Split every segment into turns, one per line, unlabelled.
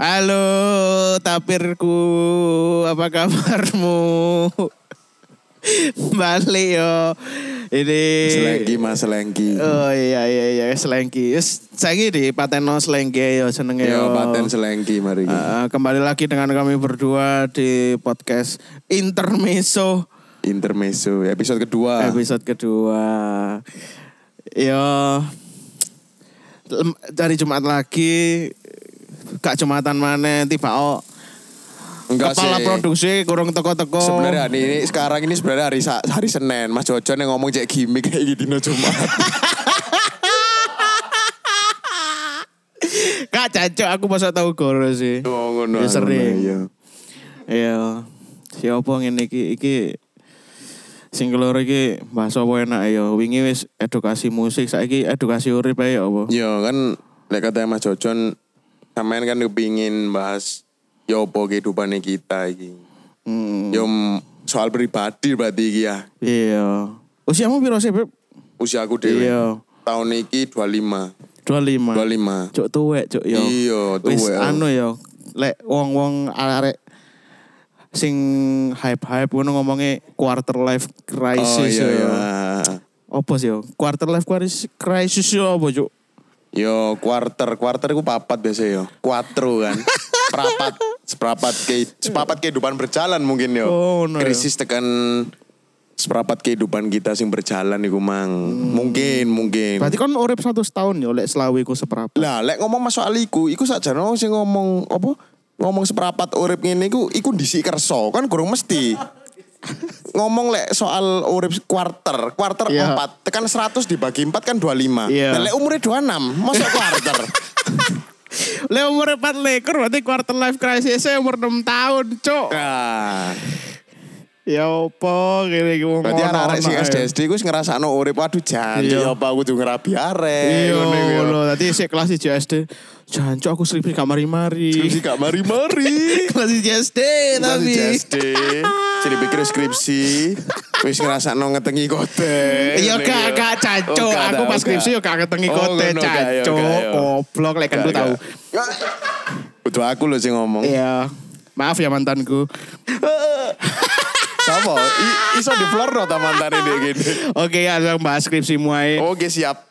Halo, tapirku, apa kabarmu? Balik yo. Ini
Selengki mas Selengki.
Oh iya iya iya selengki. Wis saiki di pateno selengki yo senenge
Yo
yo.
paten Ya, Selengki mari. kita.
Ah, kembali lagi dengan kami berdua di podcast Intermeso
Intermezzo episode kedua.
episode kedua. Yo lem- dari Jumat lagi Kak Jumatan oh, mana tiba o
Enggak
kepala
sih.
produksi kurung teko-teko.
Sebenarnya nih, ini sekarang ini sebenarnya hari Sa- hari Senin Mas Jojo yang ngomong cek gimmick kayak gitu no Jumat.
Kak Jancuk aku masa tahu goro sih.
Oh, ngono,
Ya, sering.
ngono, iya.
Iya. Siapa ngene iki iki sing keloro iki bahasa apa enak ya. Wingi wis edukasi musik, saiki edukasi urip ae ya apa?
Yo kan lek kata Mas Jojo sampean kan kepingin bahas yo opo kehidupan kita iki.
Hmm.
Yo m- soal pribadi berarti iki ya.
Iya. Usiamu piro sih, Beb?
Usia aku dhewe.
Iya.
Tahun iki 25.
25.
25.
Cuk tuwek, cuk yo.
Iya,
Wis
tuwek.
anu yo. Lek wong-wong arek sing hype-hype ngono ngomongnya quarter life crisis
Oh iya
yo.
iya.
Apa sih yo? Quarter life crisis crisis yo apa, cuk?
Yo quarter, quarter ku papat biasa yo. Quattro kan. Perapat, seperapat ke seperapat kehidupan berjalan mungkin yo.
Oh, ngono ya.
Krisis tekan seperapat kehidupan kita sing berjalan iku mang.
Hmm.
Mungkin, mungkin.
Berarti kan urip satu setahun yo lek selawe iku seperapat.
Lah, lek ngomong mas soal iku, iku sakjane wong sing ngomong apa? Ngomong seperapat urip ngene iku iku ndisik kerso, kan kurang mesti. ngomong lek soal urip quarter, quarter
Iya.
4, tekan 100 dibagi 4 kan 25.
Iya.
Nah, lek umure 26, mosok quarter.
Le umur 4 lekor berarti quarter life crisis saya umur 6 tahun, cok.
nah,
Ya opo ngene iki wong.
berarti
ngono,
anak-anak sing
anak, ya.
SDSD ku wis ngrasakno urip waduh janji
Iya.
apa kudu ngerabi arek
Iya,
ngono ya. iku.
ngono. Tadi sik kelas di JSD. Jancuk aku skripsi gak mari-mari.
Skripsi gak mari-mari.
kelas di JSD tapi.
Masih SD. Jadi pikir skripsi. Wis ngerasa no ngetengi kote.
Iya gak
ya.
gak
Oh,
caco, aku pas skripsi yo gak ketengi kote caco,
ya.
goblok lek kan ku
Gak,
tahu.
Butuh aku loh sih ngomong.
Iya. Maaf ya mantanku.
Sama. i- Iso di floor no taman tadi deh gini.
Oke ya, langsung bahas skripsi muai.
Oke siap.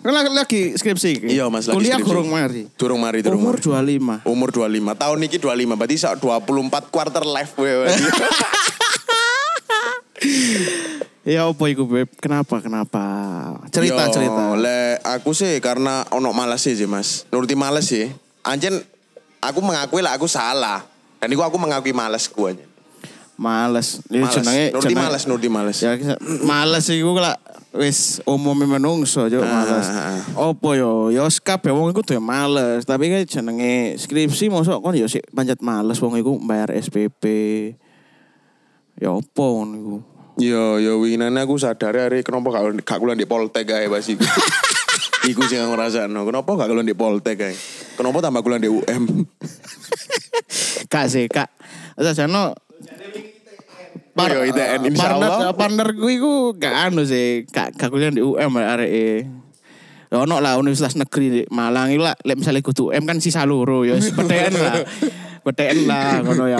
Kan lagi- lagi skripsi. iki.
Oh. Iya mas
Iya.
lagi
Kuliah
skripsi.
kurung mari.
Durung mari, durung
Umur
mari.
25.
Umur 25. Tahun ini 25. Berarti sak 24 quarter life. we, berarti.
Ya opo iku beb? Kenapa? Kenapa? Cerita
Yo,
cerita.
Le, aku sih karena ono males sih mas. Nuruti males sih. Anjen, aku mengakui lah aku salah. Dan itu aku mengakui males gue.
Males. Ini Ya,
Males.
jenenge
Nuruti
jenenge-
males, nuruti males.
Ya kisah- males iku lah wis umume menungso yo males.
ah,
Opo yo? Yo kabeh wong iku duwe males, tapi kan jenenge skripsi mosok kon yo sik pancet males wong iku bayar SPP. Ya opo ngono iku?
Yo, yo winginane aku sadar hari kenapa gak gak kulon di poltek ae pas iku. iku sing aku ngrasakno. Kenapa gak kulon di poltek ae? Kenapa tambah kulon di UM?
Kak sih, Kak. Sajano
Par- yo
eh, partner
ITN insyaallah.
partner gue iku gak anu sih gak gak kuliah di UM arek e Ya ono lah universitas negeri di Malang iku lah lek misale kudu UM kan sisa loro ya wis PTN lah PTN lah ngono ya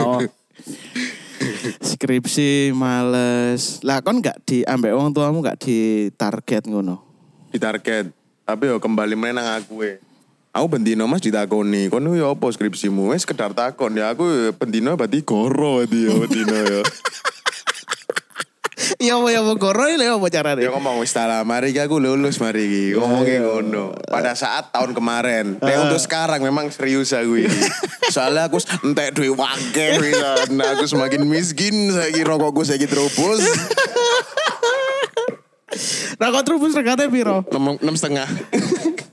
skripsi males lah kon gak di ambek wong tuamu gak di target ngono
Di target. Tapi yo kembali meneh nang aku e. Aku bendino mas ditakoni, kon yo apa skripsimu? Wes sekedar takon ya aku yo bendino berarti goro berarti yo bendino yo.
iya mau ya mau goro ya mau carane
Dia ngomong istilah, mari ki aku lulus mari ki. Ngomongnya ngono. Pada saat tahun kemarin. Tapi untuk sekarang memang serius aku ini. Soalnya aku s- entek duit wakil. wisan. Nah, aku semakin miskin. Saya kira rokokku saya terobos.
nah kok terus regane piro
Enam enam setengah.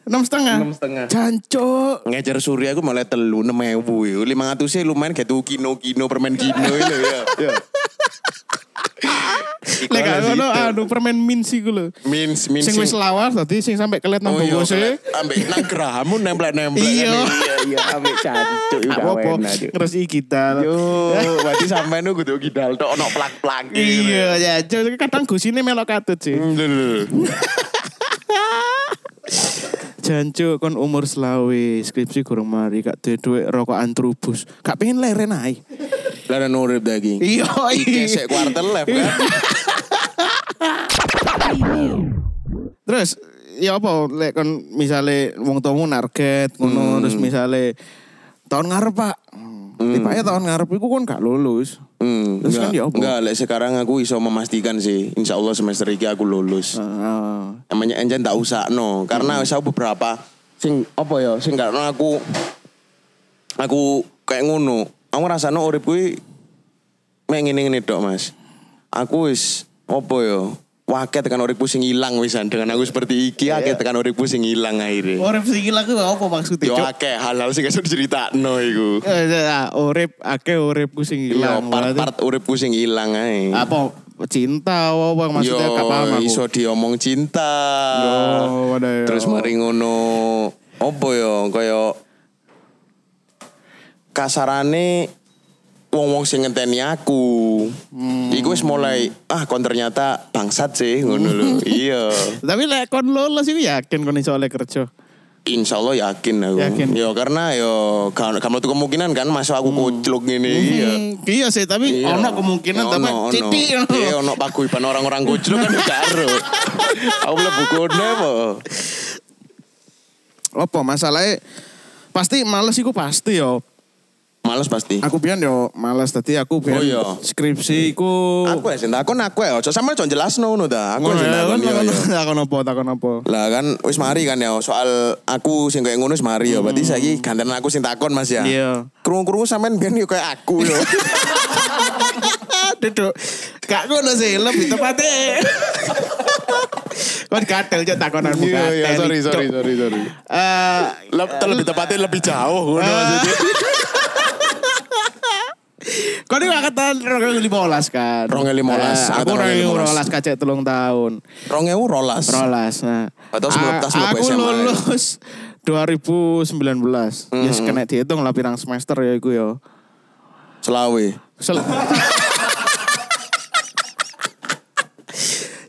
6 setengah
Enam setengah.
jancuk
Ngejar suri aku mulai telu enam ewu. ya. Lima ratus sih lumayan kayak tuh kino kino permen kino itu ya. Ya.
Lek gak
Iklanan
ngono
situ.
anu permen minsi ku lho.
Mins, mins.
Sing wis lawas tadi sing sampe kelet nang
Oh iya,
bungkuse.
ambek nang gerahamu nempel-nempel. kan.
Iya.
iya, ambek cancuk.
Gak apa-apa ngresi kita.
Yo, berarti sampean nu kudu kidal tok ono plak-plak.
Iya ya, Cuk.
Hmm.
kadang gusine melok katut sih.
Lho.
Jancuk kon umur selawe skripsi kurang mari gak duwe duit rokokan trubus. Gak pengen leren ae.
Lara nurip daging.
Iya, iya.
Iki sek quarter left kan.
Terus ya apa lek kon misale wong tuamu target ngono terus misale tahun ngarep Pak. Tipanya tahun ngarep iku kon gak lulus.
Hmm,
Terus kan
enggak,
ya apa?
enggak, lek sekarang aku iso memastikan sih, insya Allah semester ini aku lulus.
Heeh.
Emangnya enjen tak usah no, karena
Hmm.
saya beberapa sing apa ya, sing karena aku aku kayak ngono, aku rasanya urip kuwi mek ngene-ngene tok, Mas. Aku wis apa ya, waket tekan uripku sing ilang wisan dengan aku seperti iki, akeh tekan uripku sing ilang akhirnya.
Urip sing ilang ku apa maksudnya?
Yo
Cuk?
akeh hal-hal sing iso diceritakno iku.
Eh, ah, Urip akeh uripku sing
Yo
ilang. Berarti-
part-part uripku sing ilang ae.
apa cinta apa apa, maksudnya
Yo,
gak paham aku.
iso diomong cinta.
Yo, wadah, yo.
Terus mari ngono opo yo kaya kasarane wong-wong sing ngenteni aku.
Hmm.
Iku wis mulai ah kon ternyata bangsat sih ngono lho. iya.
Tapi lek kon lulus iku yakin kon iso oleh kerja.
Insya Allah yakin aku.
Yakin.
Yo karena yo kamu tuh kemungkinan kan masuk aku kucluk gini. Iya.
Hmm, iya sih, tapi
Iya.
ono kemungkinan
Iya,
tapi
ono, ono.
titik
Iya ono paguyuban orang-orang kucluk kan juga karo. Aku mlebu kono apa?
Apa masalahnya pasti males iku pasti yo.
Males pasti.
Aku pian yo males tadi aku pian
Oh, iya.
skripsi iku
Aku ya sing takon aku ya ojo sampe ojo jelasno ngono ta. Aku
ngono
sing
ya,
takon
kon
iya, iya.
takon- takon apa takon apa.
Lah kan wis mari kan ya soal aku sing kayak ngono wis mari ya. Berarti saiki gantian aku sing takon Mas
Hmm.
ya.
Iya.
Krungu-krungu sampean ben yo kayak aku ya. yo.
Duduk. Gak ngono sih, lebih tepatnya. kon gatel cok takonanmu gatel. Kan Cok.
Iya, sorry sorry.
Eh,
Leb- lebih tepatnya lebih jauh ngono
Ah.
maksudnya.
Kau ini angkatan 2015 kan?
2015,
Nah, aku
angkatan
2015 kacek telung tahun.
2012.
Rolas. Nah.
Atau sebelum-
A-
tas mlebu
Aku
SMA, ya.
lulus 2019. Ya kena dihitung lah pirang semester ya iku ya.
Selawe.
Sel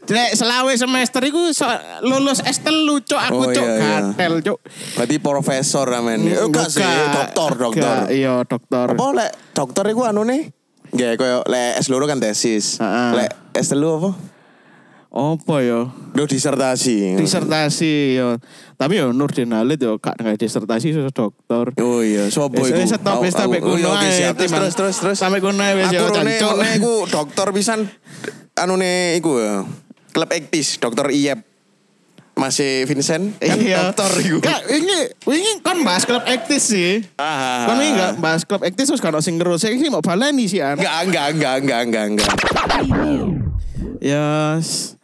Jelek selawe semester iku so, lulus S telu cok aku
Oh,
cok
iya, iya.
gatel cok.
Berarti profesor ramen. Eh, enggak sih,
Enggak.
dokter, dokter.
Enggak, Iya, dokter.
Apa lek dokter iku anu nih? Nggih, koyo lek S loro kan tesis.
Heeh.
Lek S telu apa?
Apa ya?
Duh disertasi.
disertasi yo. Tapi yo Nur Dinalit yo gak nggak disertasi susah dokter.
Oh iya, sopo iku?
Wis stop wis sampe
Aku- aku-
kuno
iya, oke,
ae,
siap. Terus
Timang.
terus terus terus.
Sampe kuno ae wis ya,
Aku
yo
rone
jancuk.
rone iku dokter pisan anu nih iku ya. Klub Ekpis, dokter Iyep. Masih Vincent kan
Iya.
dokter iku.
Kak, ini ini kan bahas klub aktif sih.
Ah.
Kan ini gak bahas klub aktif terus kan sing ngerus saya sih mau baleni sih an.
Enggak, enggak, enggak, enggak, enggak, enggak.
Yes.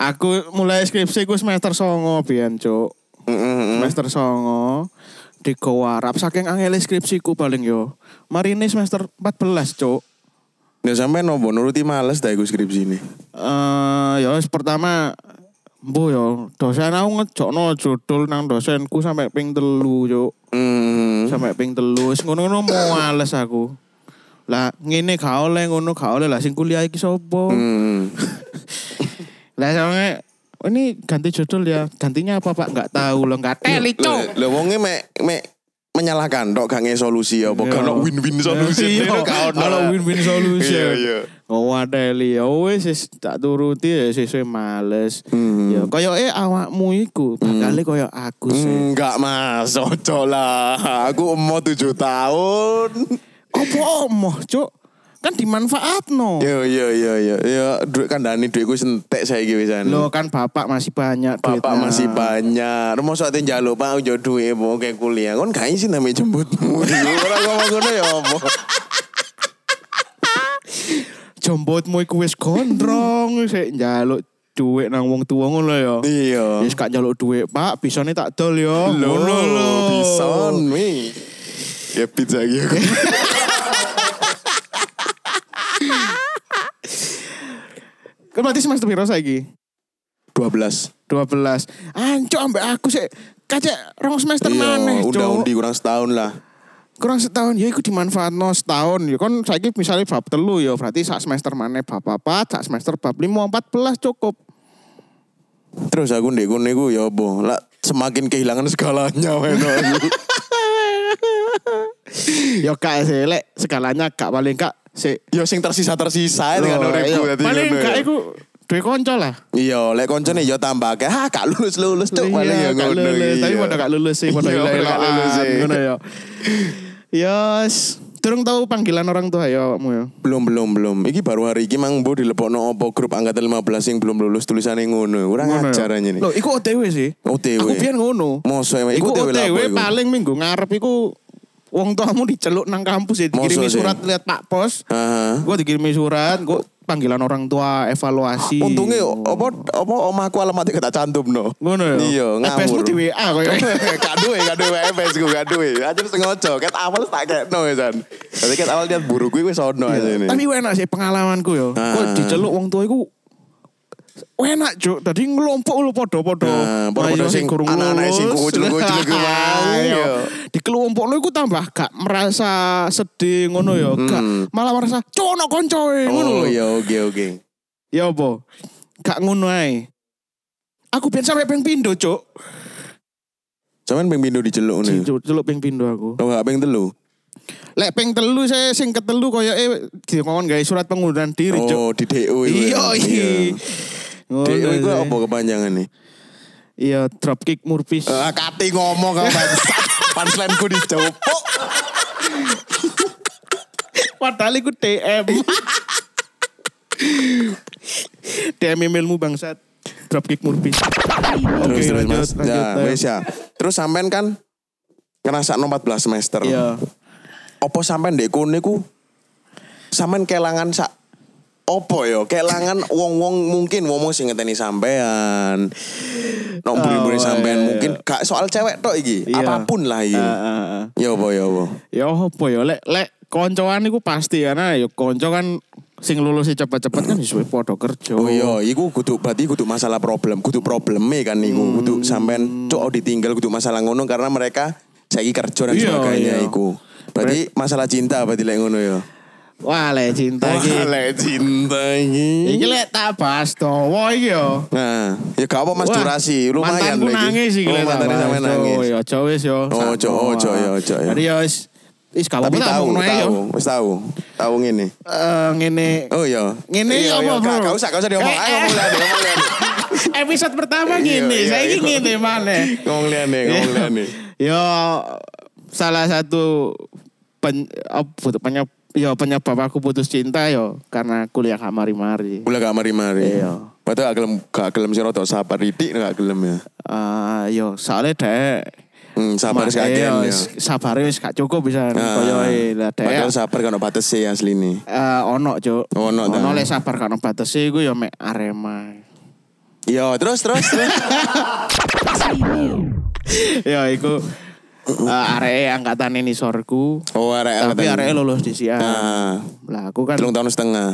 Aku mulai skripsi ku semester songo biyen, Cuk.
Hmm.
Semester songo di Warap saking angele skripsiku paling yo. Mari ini semester 14, Cuk.
Ya sampe nopo nuruti males dah iku skripsi ini.
Eh, ya wis pertama mbuh yo dosen aku ngejokno jodol nang dosenku sampe ping telu yo
Hmm.
sampe ping telu wis ngono-ngono males aku lah ngene gak oleh ngono gak oleh lah sing kuliah iki sapa
Hmm.
lah soalnya "Oh, ini ganti judul ya gantinya apa pak nggak tahu lo nggak teli cok
Lah wonge mek mek menyalahkan tok gak nge solusi apa gak ono win-win solusi.
Iya,
Gak ono.
ono win-win solution.
Iya, iya.
Oh adeli, ya wis wis tak turuti ya sesuai males.
Hmm.
Ya koyoke awakmu iku bakale koyo aku sih.
Enggak mas, cocok lah. Aku umur tujuh tahun.
Apa omoh, Cuk? Kan dimanfaatno.
Yo yo yo yo yo duit kandani duitku sentek saya gitu
Loh
sana.
kan bapak masih banyak
Bapak
duitnya.
masih banyak. Rumah soalnya jalo pak ujo duit mau kayak kuliah. Kon kain sih namanya jemputmu. Orang ngomong ngono ya apa?
Jombotmu iku wis gondrong, sik njaluk duit nang wong tuwa ngono ya.
Iya.
Wis gak njaluk duit, Pak, bisane tak dol ya. Ngono lho.
Bison mi. Ya pizza gitu.
Kan berarti semester piro saiki?
Dua belas.
12. Ancok ambek aku sik kacek rong semester
Iya,
maneh, Cuk.
udah undi kurang setahun lah.
kurang setahun ya iku dimanfaatno setahun ya kan saiki misalnya bab telu ya berarti sak semester maneh bab papat sak semester bab lima empat belas cukup
Terus aku ndek kono iku ya apa? Lah semakin kehilangan segalanya men aku.
Yo kak Ya, sih, lek skalanya kak paling kak sih.
Yo sing tersisa-tersisa ya kan ribu tadi.
Paling
ngono ya.
kak iku duwe konco lah.
Iya, lek koncone yo tambah ke, ha gak lulus-lulus tuh paling ya
Iya, gak
ngono.
lulus,
iya.
tapi pada gak lulus sih, pada
Iya,
gak
pada gak lulus
lulus
sih.
ngono ya. Yos, durung tahu panggilan orang tua ya kamu ya.
Belum belum belum. Iki baru hari iki mang Bu dilebokno opo grup angkatan 15 sing belum lulus tulisane ngono. Kurang
Ngono ya.
ajar anjing.
Loh, iku OTW sih.
OTW.
Aku biyen ngono.
Mosok emang
Iku
OTW lah apa
OTW
iku?
paling minggu ngarep iku wong tuamu diceluk nang kampus ya dikirimi
Mosok sih?
surat lihat Pak Pos.
Aha.
Gue dikirimi surat, gue panggilan orang tua, evaluasi.
Untungnya apa apa omahku alamatnya kata cantum no.
Ngono ya?
Iya,
FBS-mu
ngawur.
di WA koyo.
gak duwe, gak duwe FPS gue, gak duwe. Aja sengojo, ket awal tak ketno ya San. Tapi ket awal lihat buru gue wis ono aja ini.
Iya. Tapi gue enak sih pengalamanku yo.
Ah.
Kok diceluk wong tua iku enak juk. Tadi ngelompok lu podo-podo.
Ah, podo-podo
Ayo,
sing
kurung
anak-anak
lulus.
sing kucel-kucel iku mau,
Ayo.
yo.
Dikelompok lu iku tambah gak merasa sedih ngono yo. Gak malah merasa cono koncoe ngono
Hmm. Oh
lho.
iya oke oke.
Ya apa? Gak ngono ae. Aku pengen sampai pengen pindo, Cuk.
Cuman ping pindu diceluk nih.
Cuk, celuk pengen pindo aku.
Kau Oh, gak ping telu.
Lek peng telu saya sing ketelu koyo eh ngomong gawe surat pengunduran diri, Cuk.
Oh di DO iku ya.
Iya, iya. Ngono
DO itu
sih.
apa kepanjangan nih?
Iya, dropkick murpis.
Eh, kati ngomong kau bangsat. Punchline gue dijawab. Oh,
Padahal iku DM. DM emailmu bangsat. Dropkick murpis. Oke,
Terus terus
lanjut,
mas. Ya,
lanjut,
wes ya. Terus sampean kan ngerasa 14 semester.
Iya.
Opo sampean ndek kene ku sampean kelangan sak opo yo kelangan wong-wong mungkin wong-wong sing ngeteni sampean. Nok buri-buri
Oh,
sampean
iya,
mungkin gak soal cewek tok iki,
Iya.
apapun lah iki.
Ah, ah, ah.
Ya opo ya opo.
Ya apa ya lek lek koncoan iku pasti karena ya konco kan sing lulus cepet-cepet kan disuwe padha kerja.
Oh iya, iku kudu berarti kudu masalah problem, kudu probleme kan iku
Hmm.
kudu sampean cok ditinggal kudu masalah ngono karena mereka saiki kerja dan
Iya,
sebagainya
iya.
iku. Berarti masalah cinta berarti lek ngono ya.
Wah, lek cinta iki.
lek cinta
Iki lek tak bahas dawa iki yo.
Nah, ya gak apa Mas
Wah,
Durasi, lumayan
mantanku
lho iki.
nangis iki
Oh,
lek tak
mantane
bahas.
sampe nangis.
Oh, ya aja wis yo.
Oh, ojo, ojo, ya, ojo, ya.
Jadi yo wis wis gak
Tapi
apa-apa tak
tahu,
omongno ae
tahu,
yo.
wis tahu. Tahu ngene.
Eh, ngene
Oh iya.
Ngene
Iya,
apa,
iya,
Bro?
gak- Gak usah, gak usah diomong.
Eh, eh.
Ayo ngomong liane, ngomong liane.
episode pertama gini,
Iya,
saya
iya,
ini
iya.
gini mana?
Ngomong liane,
Iya.
ngomong liane.
Yo salah satu pen, apa, penyebab, yo penyebab aku putus cinta yo karena kuliah gak mari-mari.
Gula gak mari-mari.
Iya.
Padahal gak gelem gak gelem sira tok sabar titik gak gelem ya.
Eh, yo soalnya deh
Hmm, sabar sekagian ya.
Sabar wis gak cukup bisa
Ah.
koyo e, lah deh.
Padahal sabar kan batas sih asli nih.
Eh, ono cuk.
Oh, Ono, ta.
lek sabar kan batas iku yo mek Arema.
Iya, terus terus terus.
yo Ya, iku eh, arek angkatan ini sorku.
Oh, arek
Tapi
angkatan.
arek lulus di siang.
Nah,
Lah aku kan
telung tahun setengah.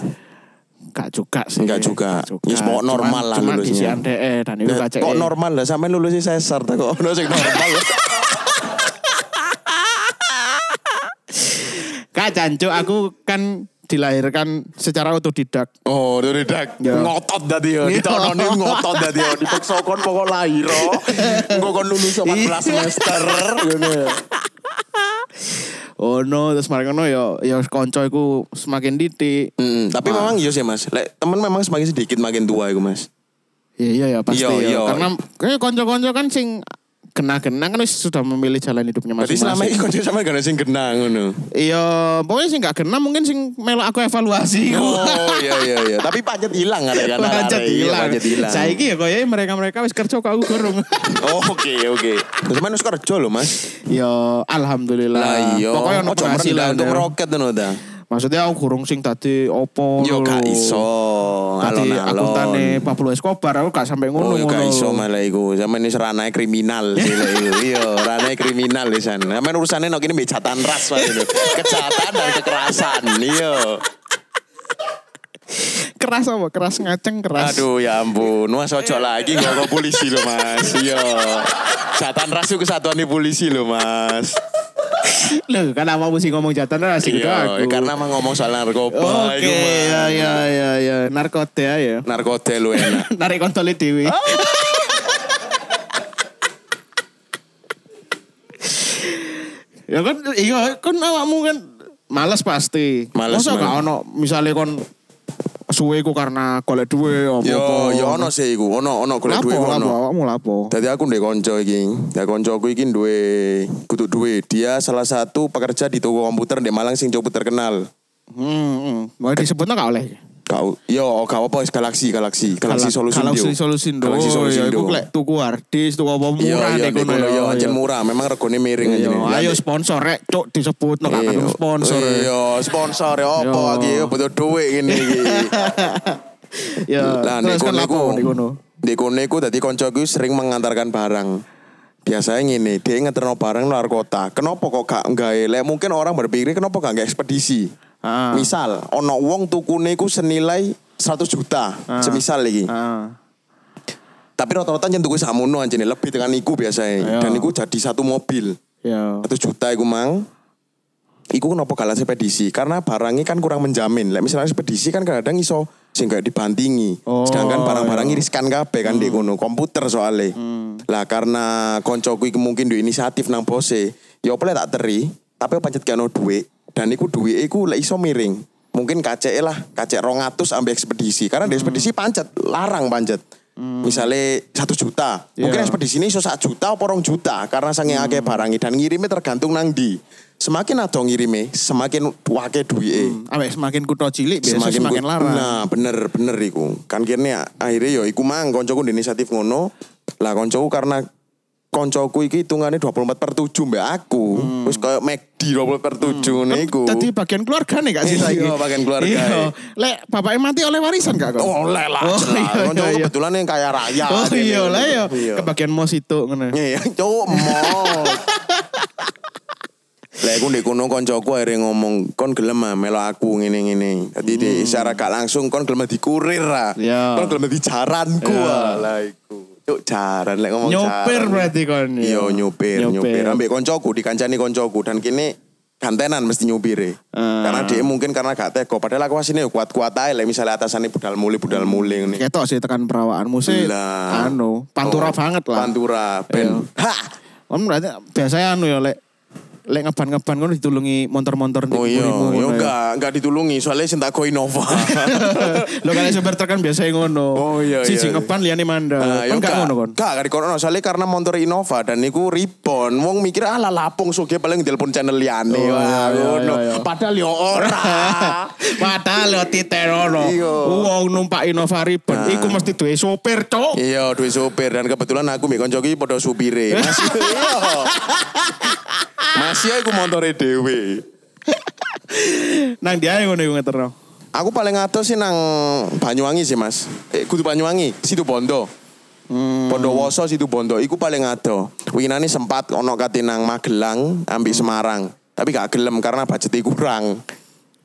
gak juga sih.
Gak juga. Yes, pokok normal lah
cuma
lulusnya.
di CMDE dan itu
Nah,
gak
kok normal lah sampe lulus sesar ta kok ono sing normal.
Gak jancuk aku kan dilahirkan secara otodidak.
Oh, dari dak
Ya.
ngotot dadi ya.
Iya.
Ditononi ngotot dadi ya. Dipaksa kon pokok lahir. oh. Engko kon lulus
Iya.
14 semester ngono ya.
Oh no, terus ya, mereka no yo yo konco iku semakin titik.
Mm, tapi memang iya sih Mas. Lek temen memang semakin sedikit makin tua iku Mas.
Iya iya ya pasti.
Iya,
ya.
iya.
Karena kayak konco-konco kan sing kena-kena kan wis sudah memilih jalan hidupnya
Jadi selama
masing-masing.
iki kon sampe gak ada sing genah ngono.
Iya, pokoknya sing gak kena mungkin sing melok aku evaluasi.
Oh iya iya iya. Tapi pancet hilang kan kan.
Pancet hilang.
Pancet hilang.
Saiki ya koyo mereka-mereka wis kerja kok aku gurung.
Oh, Oke oke. Terus main wis kerja lho Mas.
Yo, alhamdulillah.
Lah
Nah,
iya.
Pokoknya ono
Ojo merendah
penghasilan.
untuk
yo.
meroket ngono ta.
Maksudnya aku kurung sing tadi opo.
Yo
lho.
gak iso.
Tadi
Alon-alon.
akuntane Pablo Escobar aku gak sampai ngono.
Oh, ya gak
ngono.
iso malah iku. Sampe ini ranahnya kriminal sih lah iku. Iya, ranahnya kriminal di sana. Sampe urusannya nok ini mbek jatan ras wae lho. Kejahatan dan kekerasan. Iya.
Keras apa? Keras ngaceng keras.
Aduh ya ampun. Mas ojo lagi nggo polisi lho, Mas. Iya. Jatan ras itu kesatuan di polisi lho, Mas.
Loh, kan apa mesti ngomong jatan ras gitu
Iya,
aku.
karena mah ngomong soal narkoba
Oke,
iku, Mas.
ya ya ya ya. Narkote ya.
Narkote lu enak.
Narik kontole dhewe. Ya kan iya kan awakmu kan malas pasti.
Males,
Masa gak
males.
ono misale kon suwe ku karena golek duwe opo.
Yo, yo Ya, ono sih iku, ono ono golek
lapo
duwe iku
lapo
ono.
awakmu lapo.
Tadi aku ndek konco iki. Ya koncoku iki duwe kudu duwe. Dia salah satu pekerja di toko komputer ndek Malang sing cukup terkenal.
Hmm, hmm. mau disebutnya gak oleh.
Kau, yo, kau apa? Galaxy, Galaxy, Galaxy Solusindo.
Galaxy Solusindo.
Galaxy
Yo,
Solusindo.
iku lek tuku harddisk tuku apa
Iya,
murah nek
iya, ndek
kono
kono,
yo.
yo, anjen murah. Memang regane miring
Yo,
anjen.
Ayo sponsor rek cuk disebut no gak ketemu sponsor. Iya.
Iya, sponsor ya apa
Yo.
iki yo, butuh duit ngene iki.
Ya,
Lah
Iya.
nek
terus kan
kono iku,
lapo nek kono.
nek kono iku dadi koncoku sering mengantarkan barang. Biasanya ngene, dia ngeterno barang luar kota. Kenapa kok gak gawe? Lek mungkin orang berpikir kenapa gak nggak ekspedisi.
Ah.
Misal ono wong tukune iku senilai 100 juta,
Ah.
semisal iki.
Heeh.
Tapi rata-rata yang tuku samono anjene lebih dengan iku biasanya.
Iya.
Dan iku jadi satu mobil.
Ya.
100 juta iku mang. Iku kenapa kalah sepedisi? Karena barangnya kan kurang menjamin. Like misalnya sepedisi kan kadang iso sing gak dibantingi.
Oh, Hmm.
Sedangkan barang-barang riskan kabeh kan di kono komputer soalnya. Lah karena koncoku iku mungkin duwe inisiatif nang bose. Ya apa lek tak teri, tapi pancet gak ono duit. Dan iku duwe iku lek iso miring. Mungkin kacek lah, kacek 200 ambek ekspedisi. Karena
Hmm.
di ekspedisi pancet, larang pancet. Misalnya satu juta, mungkin
Iya.
ekspedisi di sini iso sak juta apa rong juta karena sange akeh
Hmm.
barangi dan ngirime tergantung nang di. Semakin ado ngirime, semakin wake duwike.
Ambek semakin kutho cilik biasa Hmm. semakin,
ku-
larang.
Nah, bener bener iku. Kan kene akhirnya yo iku mang koncoku di inisiatif ngono. Lah koncoku karena koncoku iki hitungannya 24 per 7 mbak aku.
Hmm.
Terus kayak McD 24 per 7 ngene iku.
Tadi bagian keluarga nih kak sih
Iya,
lagi.
bagian keluarga,
Iya.
ya.
Lek bapaknya mati oleh warisan gak kok?
oleh lah.
Oh,
jelas. Nah,
iya,
Koncoku
iya.
kebetulan yang kaya raya.
Oh
kene.
iya lah iya.
Iya.
Kebagian mos itu ngene.
Iya, cowok mau. Lah aku ndek kono kancaku akhirnya ngomong kon gelem ah melo aku ngene-ngene. Dadi di secara gak langsung kon gelem dikurir lah.
Hmm. Iya.
Kon gelem di jaranku
Iya.
ah. Lah iku. Cuk jaran lek ngomong
Nyopir
jaran.
berarti kon. ya.
Iya nyupir, nyupir. Ambek koncoku dikancani koncoku dan kini gantenan mesti nyupire.
Ah.
Karena dia mungkin karena gak tega. Padahal aku asine yo kuat-kuat ae lek misale atasane budal muli budal muli ngene.
Ketok sih tekan perawaanmu sih.
Lah.
Anu, pantura
Oh,
banget lah. Iya.
Pantura ben. Ha.
Kan berarti biasanya anu ya lek lek ngeban-ngeban kan ditulungi montor-montor di
Oh
kurimu
iya, yo
ngono ya. Ah,
enggak enggak ditulungi soalnya sing tak koi Nova.
Lo kan sumber kan biasa ngono.
Oh, iya,
Siji
iya.
ngeban liyane mandek.
Ah,
Kan
yo
gak ngono kon.
Enggak, enggak dikono soalnya karena motor Innova dan niku ribon. Wong mikir ala lapung sugih paling telepon channel liyane.
Oh, iya,
Wah,
iya,
ngono.
iya, iya.
Padahal yo ora.
Padahal lo diterono.
Iya. Nah.
Wong numpak Innova Ribbon iku mesti duwe sopir, Cok.
Iya, duwe supir dan kebetulan aku mbek kanca iki padha supire. Masih iya. Masih aku motore dhewe.
Nang dia yang ngono iku ngeterno.
Aku paling atos sih nang Banyuwangi sih mas. Eh, kudu Banyuwangi, situ Bondo.
Hmm.
Bondowoso situ Bondo. Iku paling ato. Winane sempat ono kate nang Magelang, ambil
Hmm.
Semarang. Tapi gak gelem karena budgetnya kurang.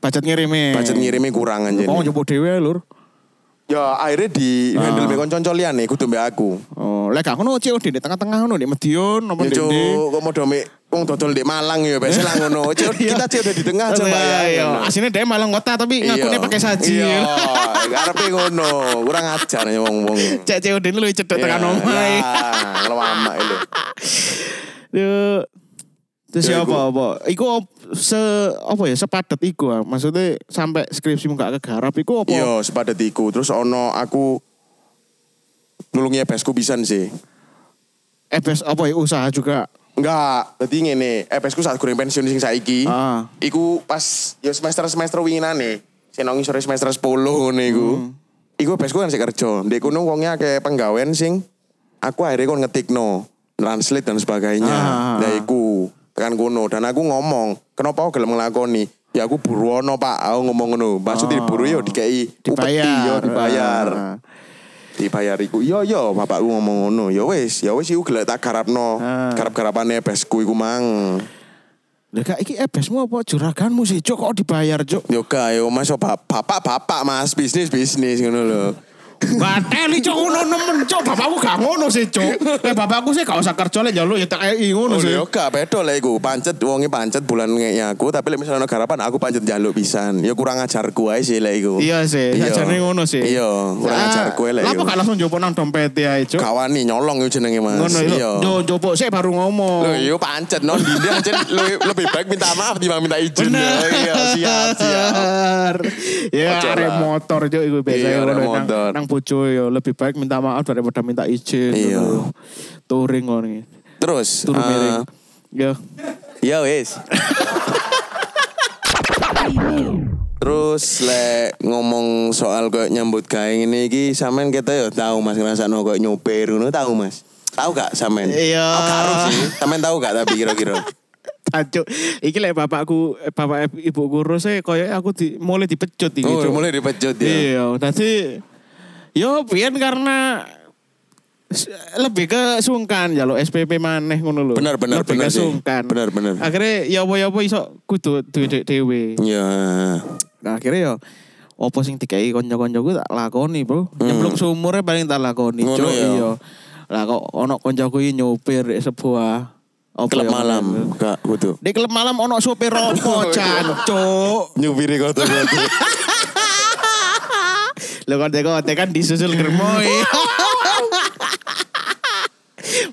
Budget ngirime.
Budget ngirimnya kurang
e.
anjir.
Hmm. Oh, Ah. coba dhewe lur.
Ya akhirnya di handle me koncon colian nih, e, kudu mbak aku.
Oh, lek gak ngono COD di tengah-tengah ngono di Medion apa
Ya
di
cuk, kok mau domek, wong dodol di Malang ya, biasa lah ngono. Cuk, kita cuk udah di tengah
aja
coba ya.
Iya. Asine dhek malah ngota tapi ngakune pakai saji.
Iya, arepe ngono. Kurang ajar ya wong-wong.
Cek COD ini luwih
Iya.
cedek tekan
Nah.
omahe.
Kalau lama itu.
Yo. Terus ya
Ya, iku.
apa apa? Iku op- se apa ya sepadet iku ah. Maksudnya sampai skripsimu gak kegarap iku apa?
Iya, sepadat iku. Terus ono aku nulungi ebesku pisan sih.
Ebes apa ya usaha juga.
Enggak, tadi ngene, ebesku saat goreng pensiun sing saiki.
Ah.
Iku pas ya semester-semester winginane, sing nongi sore semester 10 ngene iku.
Hmm.
Iku ebesku kan sik kerja. Ndek kono wonge akeh penggawean sing aku akhirnya kon ngetikno, translate dan sebagainya.
Ah.
Lah iku tekan kono dan aku ngomong, kenapa aku gelem nglakoni? Ya aku buruono, Pak. Aku ngomong ngono. Maksudnya buru yo dikei upeti
Oh. Dibayar.
yo dibayar.
Ah.
dibayar iku yo yo bapakku ngomong ngono yo wis yo wis iku gelek tak garapno
Ah.
garap-garapane besku iku mang
Lah kak iki ebesmu apa juraganmu sih? Cuk kok dibayar, Cuk?
yo ga yo mas yo bap- bapak bapak mas bisnis bisnis ngono lho
Bateli cok ngono nemen cok bapakku gak ngono sih cok. Eh bapakku sih gak usah kerja lek njaluk ya tak EI ngono
Oh,
sih.
yo gak beda lah iku. Pancet wonge pancet bulan ngeknya aku, tapi lek misalnya ono garapan aku pancet njaluk pisan. Ya kurang ajarku ae sih lek iku.
Iya sih,
Iya.
sajane ngono sih.
Iya, kurang
Lah,
ajar kowe lek.
Lah apa
iku.
gak langsung jopo nang dompet ya cok.
Kawani nyolong yo jenenge Mas.
Ngono
Iya.
yo jopo sih baru ngomong.
Loh, yo pancet non dinda aja lu- lebih baik minta maaf dibanding minta izin.
Bener.
Iya, siap, siap.
Ya
Ojo
arek
lah.
motor cok iku biasa
Iya,
ngono,
arek
nang-
motor.
Nang bojo yo lebih baik minta maaf daripada minta izin.
Iya.
ngono. Touring ngono. iki.
Terus
Turu
eh,
miring. Yo.
Ya wis. Terus lek ngomong soal kayak nyambut gawe ngene iki sampean kita ya tahu Mas ngrasakno kayak nyopir ngono tahu Mas. Tahu gak sampean?
Iya.
Aku gak harus sih. Sampean tahu gak tapi kira-kira.
Tajuk. Ah, Iki lek bapakku, eh, bapak ibu guru saya koyo e, aku di, mulai dipecut iki.
Oh,
Cuk.
mulai dipecut ya.
Iya, nanti yo pian karena s- lebih ke sungkan ya lo SPP maneh ngono lho.
Benar, benar,
lebih
benar
ke
sih.
sungkan.
Benar, benar.
Akhirnya ya apa-apa iso kudu duwe dhewe.
Iya.
Nah, akhirnya yo opo sing dikai kanca-kancaku tak lakoni, Bro. Nyemplung sumurnya paling tak lakoni,
Hmm. Ngono
Cuk.
ya.
Iya. Lah kok ono kancaku iki nyopir di sebuah apa
Klub
ya,
malam gak butuh.
Di klub malam ono sopir opo, cancuk.
Nyupiri kota-kota.
Lo kontek-kontek kan disusul germoy.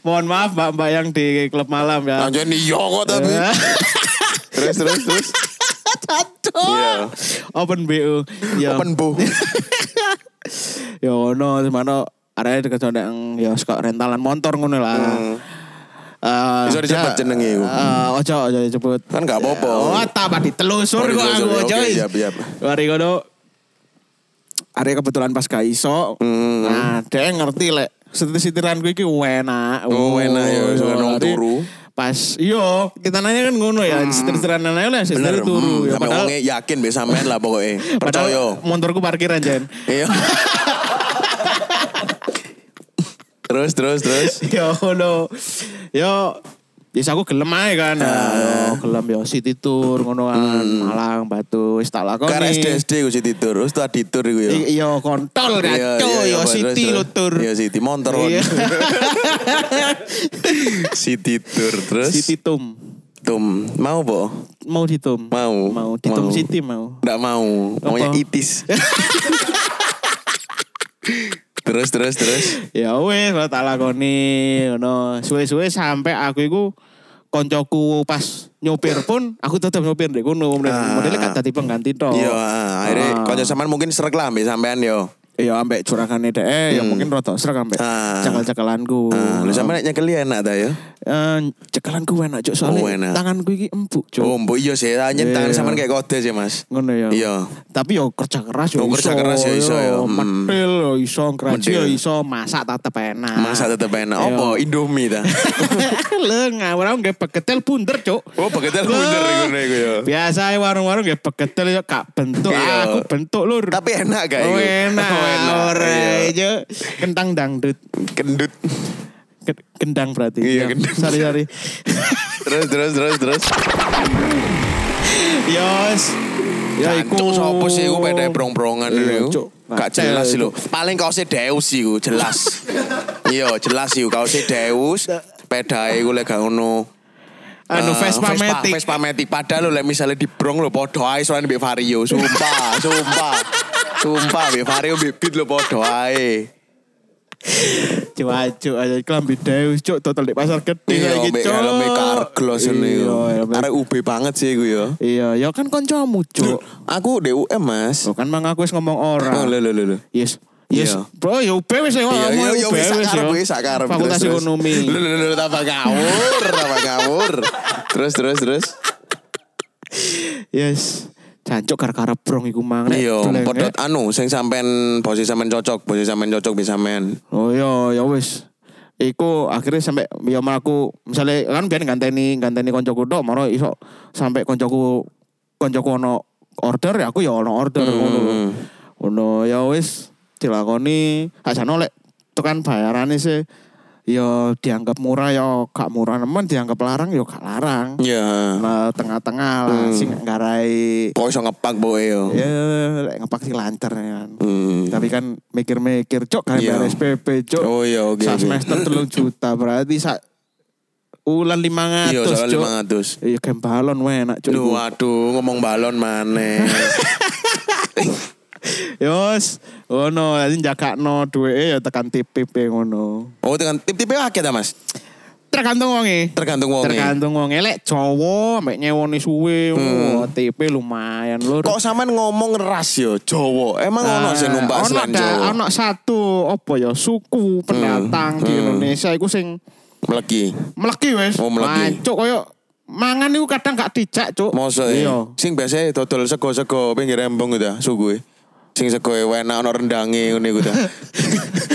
Mohon maaf mbak-mbak yang di klub malam ya.
Anjir nih yo kok tapi.
Iya.
Iya. Terus terus terus.
Tato.
Iya.
Open BU. Ya.
Open bu.
Ya ono semana arek deket nang ya suka rentalan motor ngono lah. Eh,
Hmm. Bisa disebut
ya,
jenenge iku.
eh, ojo ojo disebut.
Kan gak apa-apa.
Oh, tambah ditelusur kok
Oh,
aku
ditelusur, ya,
ojo.
oke, siap, siap.
Mari ngono. Arek kebetulan pas gak iso.
Hmm.
Nah, dia ngerti lek setir-setiran gue iki enak.
Oh, enak ya, soalnya nong
hari-
turu. Hmm.
Pas iyo, kita nanya kan ngono ya, setir-setiran nanya lah setir
Bener.
turu.
Hmm,
Ya,
sampe
padahal
wonge yakin be sampean lah pokoknya. Percaya.
padahal motorku parkiran jen.
Iya. terus terus terus.
yo ngono. Yo Yes aku gelem aja kan.
Ah.
Nah, yo, gelem yo city tour ngono kan.
Hmm.
Malang, Batu, wis tak lakoni.
Karena SDSD gue City Tour, terus tadi Tour gue ya.
I- Yo kontol
Iya,
kacau
iya, iya,
yo
Pak,
city
terus,
ya, lo
terus.
tour.
Iya City Montor.
Iya.
City Tour terus.
City Tum.
Tum mau po?
Mau ditum.
Mau.
Mau ditum
Mau.
city mau.
Nggak mau. Maunya
Apa?
itis. terus terus terus.
Ya wes lah tak lakoni ngono. Suwe-suwe sampai aku iku koncoku pas nyopir pun aku tetap nyopir deh kuno
Ah.
modelnya kan tadi pengganti toh
Iya, ah, akhirnya
Ah.
kalau sampean mungkin srek lah ambil sampean yo.
Ya ambek curahane dhek eh, ya mungkin rotok srek ambek
Hmm. Ah.
cekal-cekalanku.
Ah, lu
Heeh.
sampean nyekeli enak ta yo.
Eh, cekalanku enak cuk soalnya
Oh, enak.
tanganku iki empuk cuk.
Oh, mbok iya sih, anjen tangan
Iya.
sampean kayak kode sih, Mas.
Ngono ya.
Iya.
Tapi yo kerja keras yo
Oh, kerja keras ya iso ya. Hmm.
Mentil yo iso, ngraji yo
Mentil.
iso, masak tetep enak.
Masa tetep enak. Apa Indomie ta?
Lho ngawur nggih pegetel bunder cuk.
Oh, pegetel bunder
Lho.
ngono iku ya.
Biasa warung-warung nggih pegetel yo kak bentuk
Iya.
aku bentuk lur.
Tapi enak gak
Oh,
iku?
enak.
Oh, enak.
Ora
Iya.
iya. Kentang dangdut.
Kendut.
Ke- Kendang berarti.
Iya,
Ya,
kendang.
Sorry, sorry.
Terus terus terus terus.
Yos. Ya iku.
Jancuk sopo sih iku pedhe brong-brongan
Iya, Cuk.
iku. Gak jelas sih lho. Paling kaose Deus iku jelas. Iya, jelas iku kaose Deus. Pedae iku lek gak ngono.
Anu
Eh,
Vespa Matic.
Vespa Matic. Padahal lho, misalnya di Brong lho podo ae soalnya mbek Vario. Sumpah, sumpah. Sumpah mbek Vario mbek Beat lho podo ae.
Cuacu aja kelambi Deus cuk total di pasar gede
Iya,
kayak
mbek
gitu.
helme Carglass ngene
Iya,
yo.
helme-
Arek UB banget sih iku yo.
Iya, ya kan kancamu cuk.
Aku DUM, Mas.
Loh, kan mang aku wis ngomong
Oh,
ora.
lho lho lho. lho.
Yes. Yes,
Iya.
bro, ya UB wis ya
Iya,
ngomong
iya, iya,
UB
wis
wis,
sakarep,
yo.
wis sakarep.
Fakultas
Terus, terus. Lho
Ekonomi.
lho lho, lho, tambah ngawur, tambah ngawur. Terus terus terus.
Yes. Jancuk gara-gara brong iku mang. Nek
Iya,
dolenge-
podot anu sing sampean posisi sampean cocok, posisi sampean cocok bisa sampean.
Oh iya, ya wis. Iku akhirnya sampai ya melaku misalnya kan biar ganteni ganteni koncoku dok, moro iso sampai koncoku koncoku ono order ya aku ya ono order ngono. lho.
Hmm.
Ono ya wis dilakoni asane oleh tekan bayarane sih yo dianggap murah yo gak murah nemen dianggap larang yo gak larang
Ya.
nah tengah-tengah lah
Hmm.
sing garai
Kok iso ngepak boe yo.
ya lek ngepak sih lancar ya kan
Hmm.
tapi kan mikir-mikir cok kan
Iya.
bayar SPP cok
Oh, iya, oke,
Sak
oke.
semester telung juta berarti sak ulan lima
Iya,
ratus
soal
cok
500.
iya game balon enak cok
Lu waduh ngomong balon maneh.
Yos, ngono, jadi jakakno duwe ya tekan TPP ngono.
Oh, dengan tip-tipe akeh ta, Mas?
Tergantung wonge.
Tergantung wonge.
Tergantung wonge lek Jawa mek nyewoni suwe ngono, TP lumayan lur.
Hmm.
Ah,
Kok sampean ngomong ras yo Jawa. Emang ono sing numpak
Nah, ono
selan
da-
Jawa.
ono satu apa ya suku pendatang di Indonesia iku sing
Melegi.
meleki wes.
Hmm. Oh, meleki.
Mancuk koyo mangan iku kadang gak dijak, Cuk.
Mosok e.
Iya.
Sing biasa dodol sego-sego pinggir embong gitu, suguhe. Sing sego e enak ono rendange ngene iku ta.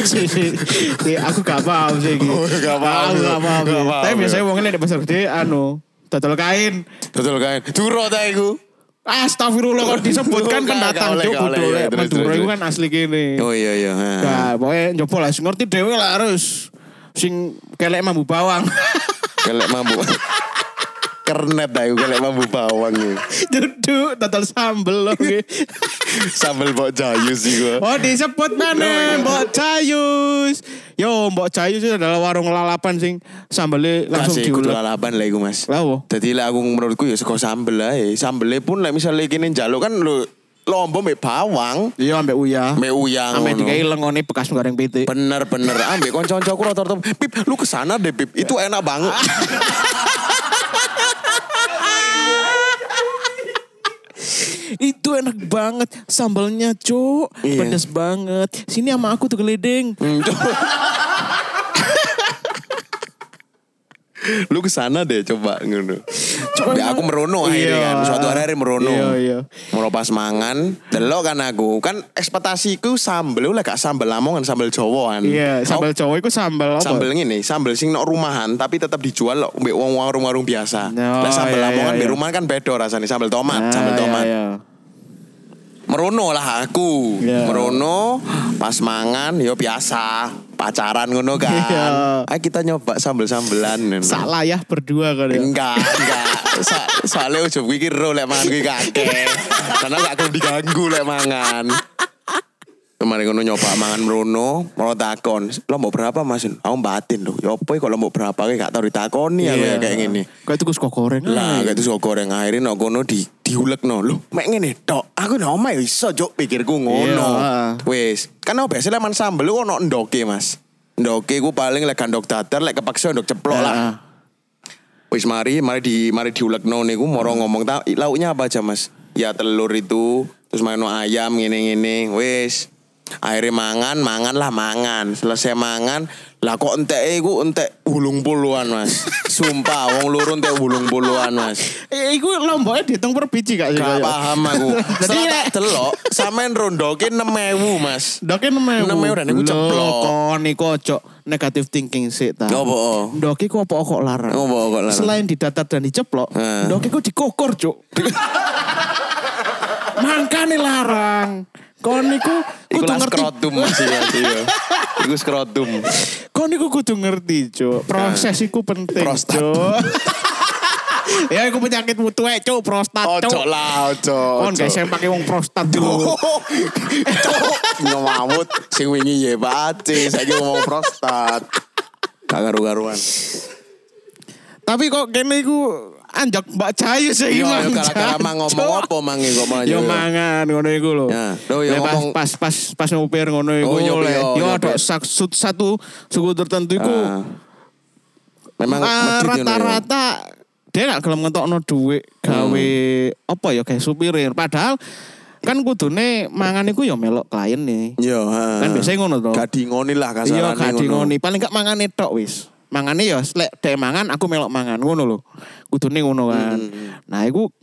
Si, si, si, aku gak paham sih iki.
Oh, gak paham,
Aku
ya.
gak paham.
Gak paham,
Tapi
ya.
biasanya wong nek di pasar gede anu dodol kain.
Dodol kae. Duro ta iku.
Astagfirullah kok disebutkan
Gak,
pendatang
gak oleh,
Cuk
gak oleh,
kudu
ya,
lek
terus,
Madura
terus,
iku
terus.
kan asli kene.
Oh iya iya. ha.
Nah, pokoknya nyoba lah sing ngerti dhewe lah harus sing kelek mambu bawang.
Kelek mambu. Kernet ta iku kelek mambu bawang iku.
Duduk total sambel loh. nggih.
Sambel bok jayu sih gua.
Oh disebut mana Mbok Jayus Yo Mbok Jayus itu adalah warung lalapan sing sambelnya langsung
Kasih kudu
diulek
lalapan lah iku Mas.
Lah wo.
Jadi lah aku menurutku ya sego sambel ae. Sambele pun lah misalnya kene njaluk kan lu lombo mbek bawang,
Iya ambek uya
mbek uyang
Ambek
ngono.
dikai lengone bekas goreng pitik
Bener bener ambek kanca-kancaku rata-rata pip lu kesana deh pip itu enak banget.
Itu enak banget sambalnya, Cuk.
Iya. Hmm.
Pedes banget. Sini sama aku tuh geledeng.
lu kesana deh coba ngono. Coba
emang-
aku merono akhirnya
Iya.
kan. Suatu hari hari merono.
Iya, iya.
Merono pas mangan, delok kan aku. Kan ekspektasiku sambel lah gak sambel lamongan, sambel kan. Jawaan.
Iya, sambal cowok itu sambal apa?
sambel ini sambel sing nok rumahan tapi tetap dijual loh mbek wong warung-warung biasa.
No,
Lah sambel
iya,
lamongan
iya,
mbek
iya.
rumahan kan beda rasanya sambel tomat,
Ah,
sambel
iya,
tomat.
iya.
Merono lah aku.
Iya.
Merono pas mangan yo biasa pacaran ngono kan.
Iya.
Ayo kita nyoba sambel-sambelan.
Sak layah berdua kali ya.
Enggak, enggak. Sa soalnya ujung gue kira lek mangan gue kakek. Karena gak akan diganggu lek mangan. Kemarin kono nyoba mangan merono, mau takon. Lo mau berapa mas? Aku batin loh. Ya apa kok lo mau berapa? Gue gak tau ditakoni aku ya kayak gini.
Iya. Kayak tuku sego goreng. ay.
Lah, kayak itu sego goreng akhirnya no kono di diulek no. Loh, mek ngene tok. Aku nang omah ya iso jok pikirku ngono.
Iya.
Wis, kan aku biasa leman sambel ku ono ndoke, Mas. Ndoke ku paling lek gandok datar, lek kepaksa ndok ceplok lah.
Ah,
Wis mari, mari di mari diulekno niku moro
Hmm.
ngomong ta i- lauknya apa aja Mas? Ya telur itu, terus main ayam ngene-ngene. Wis. Akhirnya mangan, mangan lah mangan. Selesai mangan, lah kok entek iku entek bulung puluhan Mas. Sumpah wong lurun entek bulung puluhan Mas.
Eh, iku lomboknya dihitung per biji gak sih?
Gak
kayak?
paham aku.
Iya, Jadi
Setelah
lek
tak delok, sampean rondoke 6000 Mas.
Doke nemewu.
Nemewu dan iku
Lho,
ceplok.
Kon iku ojo negative thinking sik ta.
Apa?
Doke ku apa kok larang?
Apa kok larang?
Selain didatar dan diceplok,
Eh.
doke ku dikokor, Cuk. Mangkane larang. Kon niku
Iku
kudu
lah
ngerti.
skrotum Mas iya, iya. Iku skrotum.
Kon niku kudu ngerti, Cuk. Proses iku penting,
Prostat.
Cuk. ya iku penyakit mutu ae, Cuk, prostat,
Ojo
Cuk.
lah, ojo.
Kon
ojo.
guys yang pakai wong prostat dulu.
Cok, ngemamut sing wingi ya Pak Aceh, saiki ngomong prostat. Gak karu-karuan.
Tapi kok kene iku anjak Mbak Jayu sih
Yo
Mang.
Iya, gara-gara mang ngomong
Cuk.
apa mang kok malah
Yo
yo.
mangan ngono iku lho.
Ya. Loh, yo
Lek pas,
ngomong-
pas pas pas nyupir ngono iku
Oh, nyupir,
lek,
yo,
yo
nyupir.
ada sak- sut- satu suku tertentu iku
Ah. Memang
ah,
medit ngono, yo.
rata-rata dia gak gelem ngetokno dhuwit gawe
Hmm.
apa ya kayak supire. Padahal kan kudune mangan iku yo melok klien e. nih.
Yo,
Kan biasanya ngono to.
Iya, Gak ngoni lah kasarane
Iya gak ngoni, paling gak mangane tok wis. Mangane ya lek dhek mangan aku melok mangan ngono lho. Kudune ngono kan.
Hmm,
Nah, iku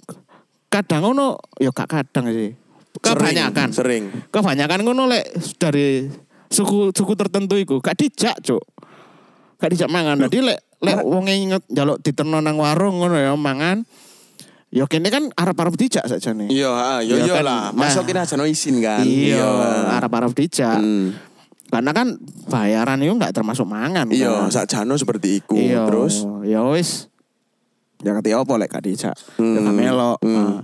kadang ngono ya gak kadang sih. Kebanyakan.
Sering.
Kebanyakan ngono lek dari suku suku tertentu iku gak dijak, Cuk. Gak dijak mangan. Jadi lek lek wonge inget njaluk diterno nang warung ngono ya mangan. Ya kene kan arep-arep dijak sajane.
Iya, ha, yo
Iya
yo
kan?
lah. Masuk
Nah.
kita aja no izin kan.
Iya, arep-arep dijak.
Hmm.
Karena kan bayaran itu nggak termasuk mangan. kan?
Iya, sak jano seperti iku.
Iya,
Terus
ya wis. Ya ngerti apa lek gak dijak.
Hmm,
Ya gak melok.
hmm.
Nah,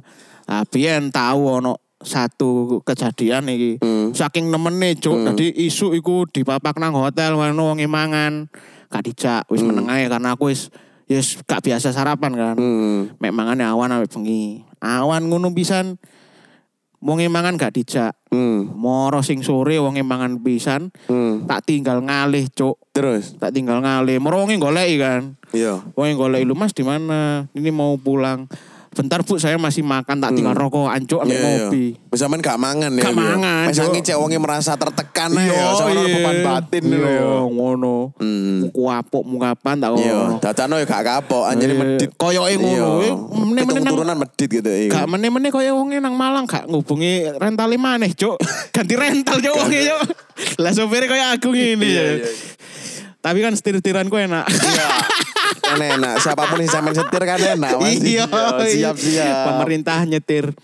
Nah, biyen tahu ono satu kejadian iki.
Hmm.
Saking nemene, Cuk. Tadi isu iku dipapak nang hotel ono wong mangan. Gak dijak, wis meneng ae karena aku wis yes gak biasa sarapan kan.
hmm,
Mek mangane awan ambek bengi. Awan ngono pisan. Wong mangan gak dijak.
hmm,
Moro sing sore wong mangan pisan,
hmm.
tak tinggal ngalih, Cuk.
Terus,
Tak tinggal ngalih. Moro wonge goleki kan.
iya.
Wah yang golek lu mas di mana? Ini mau pulang. Bentar bu, saya masih makan tak
Hmm.
tinggal rokok, ancuk,
Iya,
ambil kopi.
Misalkan gak mangan ya.
Gak
Bil.
mangan,
Misalkan
Cuk.
cewek wongnya merasa tertekan aja ya. Sama
iya.
beban batin dulu
Iya,
ya.
ngono.
Hmm.
Muku apuk, muku kapan tak
Iya,
ngono.
dadano ya gak kapok, anjir
Iya.
medit.
Koyoke ngono.
Iya.
Eh, meneh-meneh
Pitung
nang-
turunan medit gitu. iya.
Gak meneh-meneh kaya wonge nang Malang gak ngubungi rental maneh, Cuk. Ganti rental yo wonge yo. Lah sopirnya kaya aku ngene ya.
iya.
Tapi kan setir-setiranku enak.
Iya. kan enak. Siapapun yang sampean setir kan enak. Mas.
Iya,
siap siap.
Pemerintah nyetir.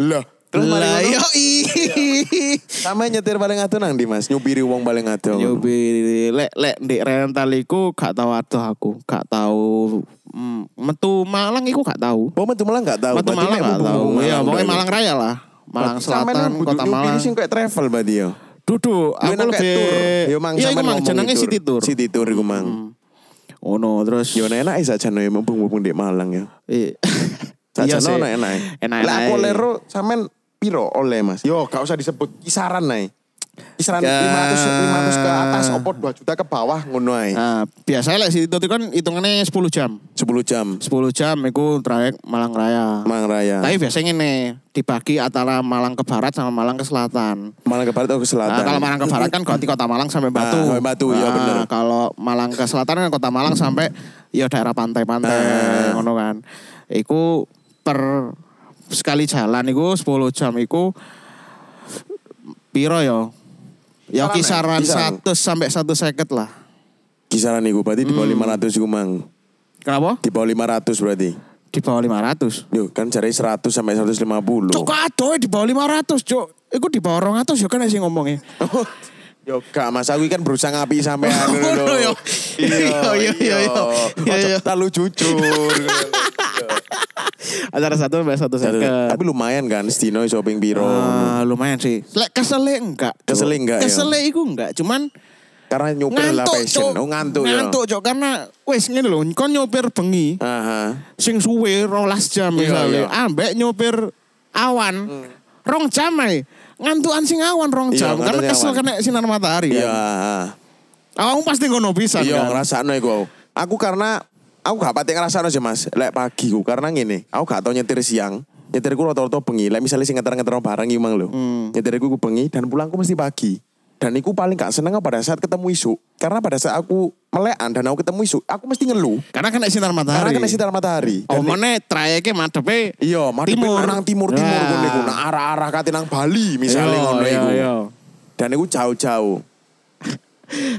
Loh, terus paling
Lah, iya.
ngono, Iya.
yo ih.
sama yang nyetir paling atuh nang di Mas, nyupiri wong paling atuh.
Yobi lek lek ndek rental iku gak tau adoh aku, gak tau mm, metu Malang iku gak tau.
Wong metu Malang gak tahu.
Metu
berarti
Malang
mek
gak
bubu
tau.
Malang
Iya,
dong.
pokoknya Malang Raya lah. Malang
Berarti sampean
Selatan,
kudu
Kota
nyupiri
Malang.
sing kayak travel berarti ya.
Duduk, aku
Lu enak kayak
lebih
tur. Yo mang
Iya, iku
sampean
mang
ngomong
jenenge
tur.
City Tour.
City Tour iku mang.
Oh no, terus
Yo enak ae sajane ya mumpung-mumpung di Malang ya.
Eh,
Sajane
sih.
enak enak.
Enak
Lah aku
ae.
lero sampean piro oleh Mas? Yo gak usah disebut kisaran nae. Kisaran
Ya.
500 500 ke atas opo 2 juta ke bawah ngono ae.
Nah, biasanya lek City Tour itu kan hitungannya 10 jam.
10 jam
10 jam iku trayek Malang Raya.
Malang Raya.
Tapi biasanya nih dibagi antara Malang ke barat sama Malang ke selatan.
Malang ke barat atau ke
Nah,
selatan?
kalau Malang ke Barat kan kota kota Malang sampai Batu.
sampai Batu, iya
Nah,
bener.
Kalau Malang ke Selatan kan kota Malang sampai ya daerah
Ah.
pantai-pantai ngono kan. Iku per sekali jalan iku 10 jam iku piro yo? Ya
Kisaran,
kisaran 100
kisaran.
sampai 150 lah.
Kisaran iku berarti di
Hmm.
bawah 500 iku mang.
Kenapa?
Di bawah 500 berarti.
Di bawah 500.
Yo kan cari 100 sampai 150.
Cuk kok adoh di bawah 500, Cuk. Iku di bawah 200 yo kan sing ngomongnya.
Yo gak Mas aku kan berusaha ngapi sampai
Oh, no, yo. Yo, yo, yo, yo. Yo, yo.
Terlalu jujur.
Antara 1 sampai 150.
Tapi lumayan kan Stino shopping piro.
Ah, lumayan sih. Lek kesele enggak? Cuk.
Kesele enggak, ya?
Kesele iku enggak, cuman
Karena nyupir lah
ngantuk,
passion.
Cuk.
Oh ngantuk yo.
Ngantuk, Cuk, karena wis ngene lho, kon nyopir bengi
Aha.
sing suwe 12 jam
Iya,
misalnya,
iya. Hmm.
ambek nyopir awan. Rong jam ae. Ngantukan sing awan rong
Iya,
jam karena
ngantuknya
kesel
awan.
kena sinar matahari
Iya.
kan. Awakmu pasti ngono pisan
Iya
kan.
ngrasakno iku aku. Aku karena aku gak pati ngrasakno sih Mas. Lek pagi ku karena ngene, aku gak tau nyetir siang. Nyetirku rata-rata bengi. Lek misalnya sing ngeter-ngeter bareng imang lho.
Hmm.
Nyetirku ku bengi dan pulangku mesti pagi. Dan aku paling gak seneng pada saat ketemu isu. Karena pada saat aku melekan dan aku ketemu isu, aku mesti ngeluh.
Karena kena sinar matahari.
Karena kena sinar matahari. Dan-
Oh, mana trayeknya madepe
Iya, madhepe
Timur.
nang timur-timur
Nah.
ngono iku. Nah, arah-arah kate nang Bali misalnya
Iya,
ngono
iya,
iku.
iya.
Dan iku jauh-jauh.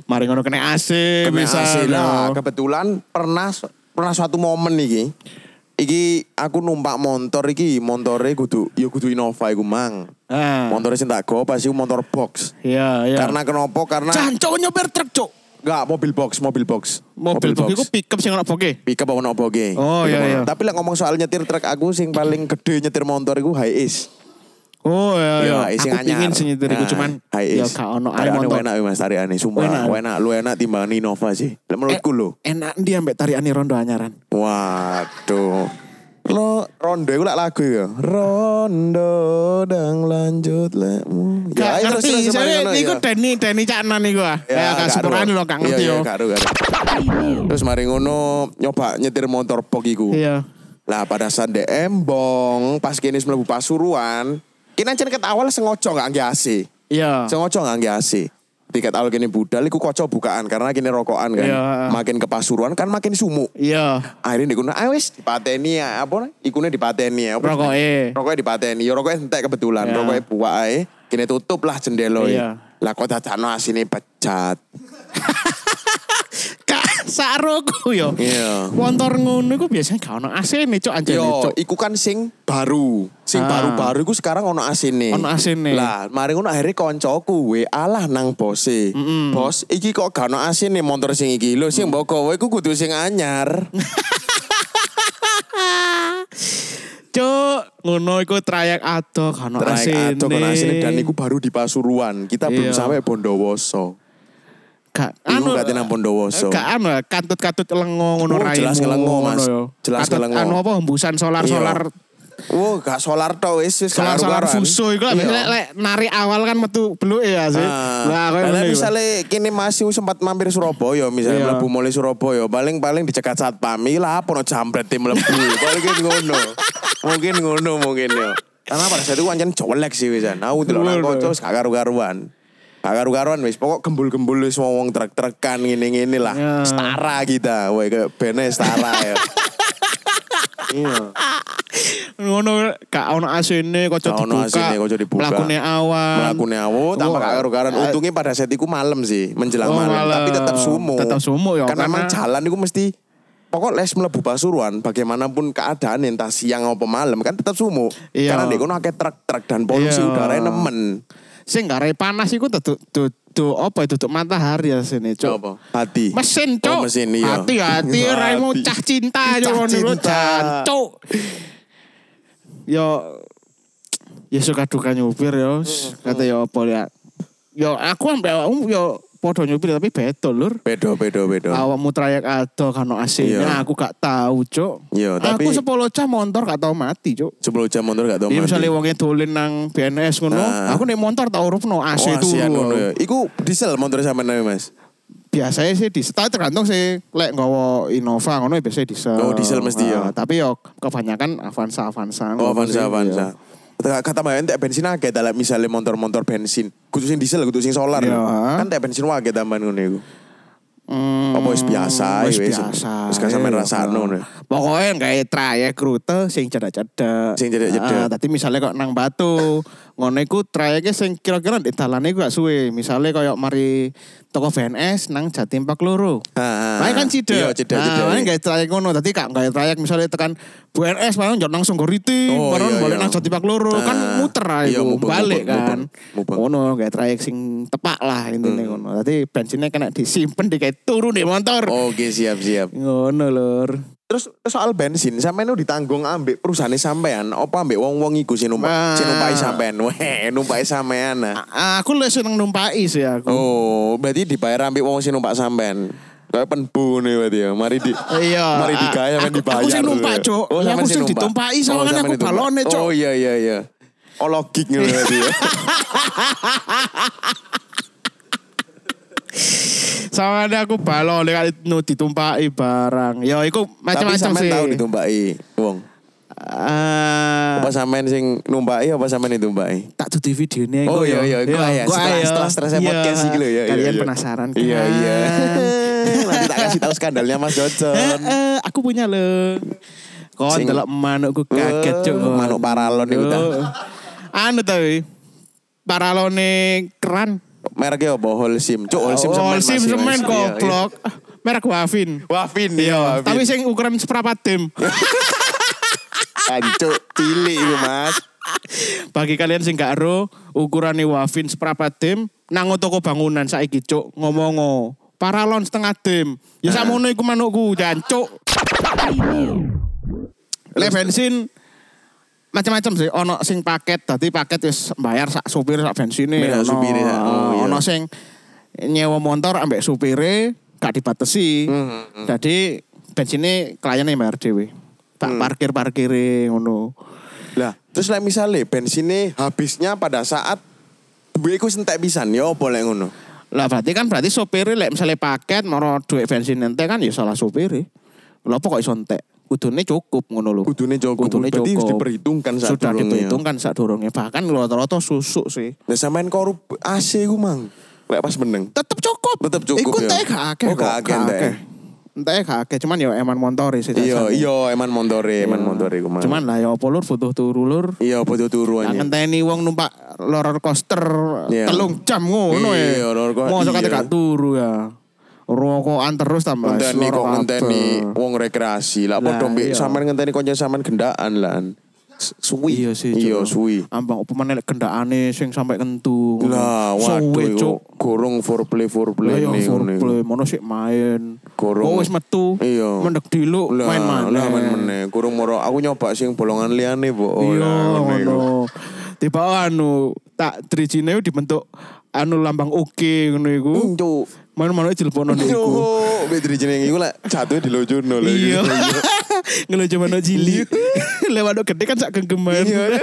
Mari ngono kena AC,
Kena
misal,
AC lah.
yo.
Kebetulan pernah pernah suatu momen iki. Iki aku numpak motor iki, montore kudu ya kudu Innova iku mang.
Ah.
Montore sing tak go pas iku motor box.
Iya, iya.
Karena kenapa? Karena
Cancok nyopir truk, Cuk.
enggak mobil box, mobil box.
Mobil box iku pick up sing ana boke.
Pick up ono boge.
Oh, iya, iya.
Tapi lah ngomong soal nyetir truk aku sing paling gede nyetir motor iku high ace.
Oh
Iya,
iya iya.
isi
Aku pingin
anyar.
sing nyetir iku
Nah,
cuman
high
ya
is.
gak ono ae
Tarikane
montor.
enak weh, Mas tarikane sumpah.
Enak.
Enak lu enak timbang Innova sih. Lah menurutku lo.
Eh, Enak ndi ambek tariane rondo anyaran.
Waduh. Lo rondo iku lak lagu ya. Rondo dang lanjut lekmu. Ya,
Gak ngerti.
ayo iya, terus, terus, mari
Saya
ngono,
niku
ya.
Deni Deni Caknan niku ah. Ya gak sepurane lo gak ngerti
Iya,
yo.
iya, gak ero, gak ero. Terus mari ngono nyoba nyetir motor pok iku.
Iya.
Lah pada saat dek embong pas kini mlebu Pasuruan, kini ancen ket awal sengojo gak nggih AC.
Iya.
Sengojo nggak nggih AC. Tiket awal kini budal, iku kocok bukaan karena kini rokokan kan.
Iya.
Makin ke Pasuruan kan makin sumuk.
Iya.
Akhirnya dikuna, ah wis dipateni ya, apa nih? Ikune dipateni ya. Apa?
Rokoke.
Rokoknya dipateni, ya rokoknya entek kebetulan,
Iya.
rokoknya buak ae. Kini tutup lah jendela
Iya.
ya. Lah kok dadakno asine pecat.
Kak saroku yo.
Iya.
Motor ngono iku biasanya gak ono AC-ne cok anjir
Yo,
cok.
iku kan sing baru. Sing
Ah.
baru-baru iku sekarang ono asine.
Ono asine.
Lah, mari ngono akhirnya koncoku WA lah nang bose. Bos, iki kok gak ono asine motor sing iki. Lho,
Mm.
sing mbok gawe iku kudu sing anyar.
Cok, ngono iku trayek ado gak ono
Trayek
AC-ne.
adoh, ono asine dan iku baru di Pasuruan. Kita belum
Iya.
sampai Bondowoso.
gak
Iku berarti nang Bondowoso.
Gak eh, anu kantut-kantut lengo ngono
Oh,
raimu.
jelas kelengo,
ngono
Mas.
yo.
Jelas
Kantut
kelengo.
Anu apa hembusan solar-solar
Wow, Oh, gak solar to wis wis gak
solar-solar
karu-karuan.
fuso iku lah
Iya. Ah.
biasanya lek narik awal kan metu beluk ya sih.
Nah,
koyo
nah
ngene iku.
misalnya kini masih sempat mampir Surabaya misalnya
Iya.
mlebu mulai Surabaya paling-paling dicegat satpam "Ih, lah apa no jambret tim mlebu mungkin ngono mungkin ngono mungkin yo karena pada saat itu anjir colek sih wisan aku delok nang
Ngono.
kocok gak karu-karuan gak karu-karuan wis pokok gembul-gembul wis wong trek-trekan ngene-ngene lah
Iya.
setara kita woi kayak bene setara ya iya
ngono gak ono asine kocok
Gak ono
dibuka.
asine, kocok dibuka.
Mlakune awan.
melakukan awu tambah
Wah,
gak karu-karuan
eh,
untungnya pada saat itu malam sih menjelang
Oh,
malam.
malam.
tapi tetap sumuk
Tetap sumuk ya,
karena, emang
karena-
jalan itu mesti pokok les melebu pasuruan bagaimanapun keadaan entah siang apa malam kan tetap sumuk
Iya.
karena di kono akeh truk-truk dan polusi
Iya.
udaranya nemen
sing gak arep panas iku tutup tutup apa itu tutup matahari ya sini cok
hati
mesin cok
Oh, mesin iya
hati-hati raimu
Hati.
cah cinta
Cah
cok ngono iku,
cinta.
jancuk. yo ya suka duka nyupir yo kata yo apa ya yo aku ambek awakmu yo podo nyupir tapi betul lur
bedo bedo bedo
awakmu trayek ado kano asinnya
Iya.
aku gak tahu cok
Iya, tapi-
aku 10 jam motor gak tau mati cok
sebelum jam motor gak tau
Iya
mandi.
misalnya wongnya dolen nang BNS ngono,
Nah.
aku nih motor tak urup no AC
Oh,
turu.
asian ngono ya. Iku diesel motor sama namanya mas
Biasanya sih diesel, tapi tergantung sih lek nggawa Innova ngono ya biasanya diesel.
Oh, diesel mesti
Ah,
ya.
Tapi yo kebanyakan Avanza Avanza.
Oh
ngono sih,
Avanza Avanza.
iya.
Kata kata mbak entek bensin agak dalam misalnya motor-motor bensin. Khusus yang diesel, khusus yang solar.
Iya.
Kan tak bensin wae tambahan ngono iku.
Hmm,
Apa wis biasa,
wis
ya, wis-
biasa.
wis gak sampe
iya,
rasakno,
iya.
nih.
Pokoknya kayak trayek rute sing cedak-cedak.
Sing
Ah,
cedak-cedak.
Tadi misalnya kok nang Batu, ngono iku trayeknya sing kira-kira di dalane iku gak suwe. Misalnya kayak mari toko VNS nang Jatim Pak Loro.
Ah, ah.
Main kan cedek.
Iya, cedek,
nah,
cedek.
Main gak trayek ngono. Tadi kak gak trayek misalnya tekan BNS main jauh nang Songgoriti.
Oh,
baru
iya,
balik
iya.
nang Jati Pak Loro. Kan
Ah.
muter lah
Iya,
itu.
mubeng,
balik
mubeng,
kan.
mubeng, mubeng.
Ngono gak trayek sing tepak lah intinya
Hmm.
ngono. Tadi bensinnya kena disimpen di kayak turun di motor.
Oke siap siap.
Ngono lor.
Terus soal bensin, sampean itu ditanggung ambek perusahaan sampean, apa ambek wong-wong iku sing
Wah.
numpak, sing numpai sampean, weh numpai sampean. ah. nah.
A- Ah, Aku lebih seneng numpai sih aku.
Oh, berarti dibayar ambek wong sing numpak sampean. Kayak penbu nih berarti ya. Mari di
Iya.
Mari
A-
digaya sampean
aku-
dibayar. Oh,
aku sing numpak, Cuk. Ya, aku
sampean
sing
numpak. Oh,
ditumpai, soalnya kan
sampean
aku
ditumpak.
balone, Cuk.
Oh iya iya iya. Oh logik nih berarti ya.
Sama ada aku balon kali nu ditumpai barang. Ya iku
Tapi
macam-macam
sampean
sih.
tahu ditumpai wong.
Ah,
Apa sampean sing numpai apa sampean ditumpai?
tak tutup video ini
Oh, iya, iya, gua ya. Setelah- setelah stresnya podcast iki lho, ya, iya,
Kalian
iya.
penasaran kan?
Iya iya. Nanti tak kasih tahu skandalnya
Eh,
Mas Jojon.
eh, aku punya lho. Kon
Sing-
delok manukku kaget cuk.
Eh, manuk paralon iku ta.
Oh. Anu tapi paralone keran.
Mereknya apa? Holcim. Cuk, Holcim semen.
Oh, sim
Mas,
semen
Mas. Iya, iya.
goblok. Merek Wafin.
Wafin ya, Wafin.
Tapi sing ukuran seprapat tim.
Ancuk, cilik itu mas.
Bagi kalian sing gak ero, ukurane Wafin seprapat tim nang toko bangunan saiki cuk ngomongo. Paralon setengah tim. Ya sakmono iku manukku jancuk. Le bensin macam-macam sih ono sing paket dadi paket wis bayar sak supir sak bensine
Bayar sak
ono.
supire, sak- oh, iya.
ono sing nyewa motor ambek supire gak dibatasi
Hmm,
jadi bensinnya kliennya yang bayar dhewe tak
Hmm.
parkir parkire ngono
Lah, terus lah misalnya bensinnya habisnya pada saat gue iku sentek pisan ya apa lek ngono.
lah berarti kan berarti supire lek misalnya paket moro duit bensin ente kan ya salah supire lho apa kok iso entek kudune cukup ngono lho
Kudune cukup.
kudune
Berarti
cukup
harus diperhitungkan saat
sudah
durungnya.
diperhitungkan saat durungnya bahkan rata-rata susuk sih
Lah sampean korup AC ku mang. Lek pas meneng.
tetep cukup
Tetep cukup,
iku
ya.
entek gak akeh
Oh, gak akeh entek.
entek gak akeh cuman ya eman montore sih
Iya,
dasarnya.
iya eman montore, eman montore ku mang.
cuman lah ya apa lur butuh turu lur
iya bodo turu
Lah
aja.
ngenteni wong numpak roller coaster
Iya.
telung jam ngono ya.
Iya, roller coaster,
Mosok kate
iya.
gak turu ya. rokokan terus tambah
Ngenteni
seloro
kok ngenteni
kabeh.
wong rekreasi lah
Lah,
padha mbek
iya.
sampean ngenteni kanca sampean gendaan lan. S- Suwi.
Iya sih. Cuk.
Iya suwi.
Ambang opo meneh gendakane sing sampe kentu.
Lah
Suwe,
waduh
Cuk.
yo gorong foreplay iya, foreplay
Lah,
ning
ya,
ngene.
foreplay, mono sik main.
Gorong.
Oh, wis metu.
Iya.
Mendek diluk
Lah,
main maneh.
Lah main meneh. Gorong moro aku nyoba sing bolongan liyane po.
Iya,
Lah, ngene iku.
ngono. Tiba anu tak trijine dibentuk anu lambang oke ngono iku.
Cuk.
Main-main jelepono niku.
Yo, bedri jeneng iku lek jatuh dilojono lho.
Iya. Ngelo jaman no cili. Lewat no gede kan sak genggeman.
Iya.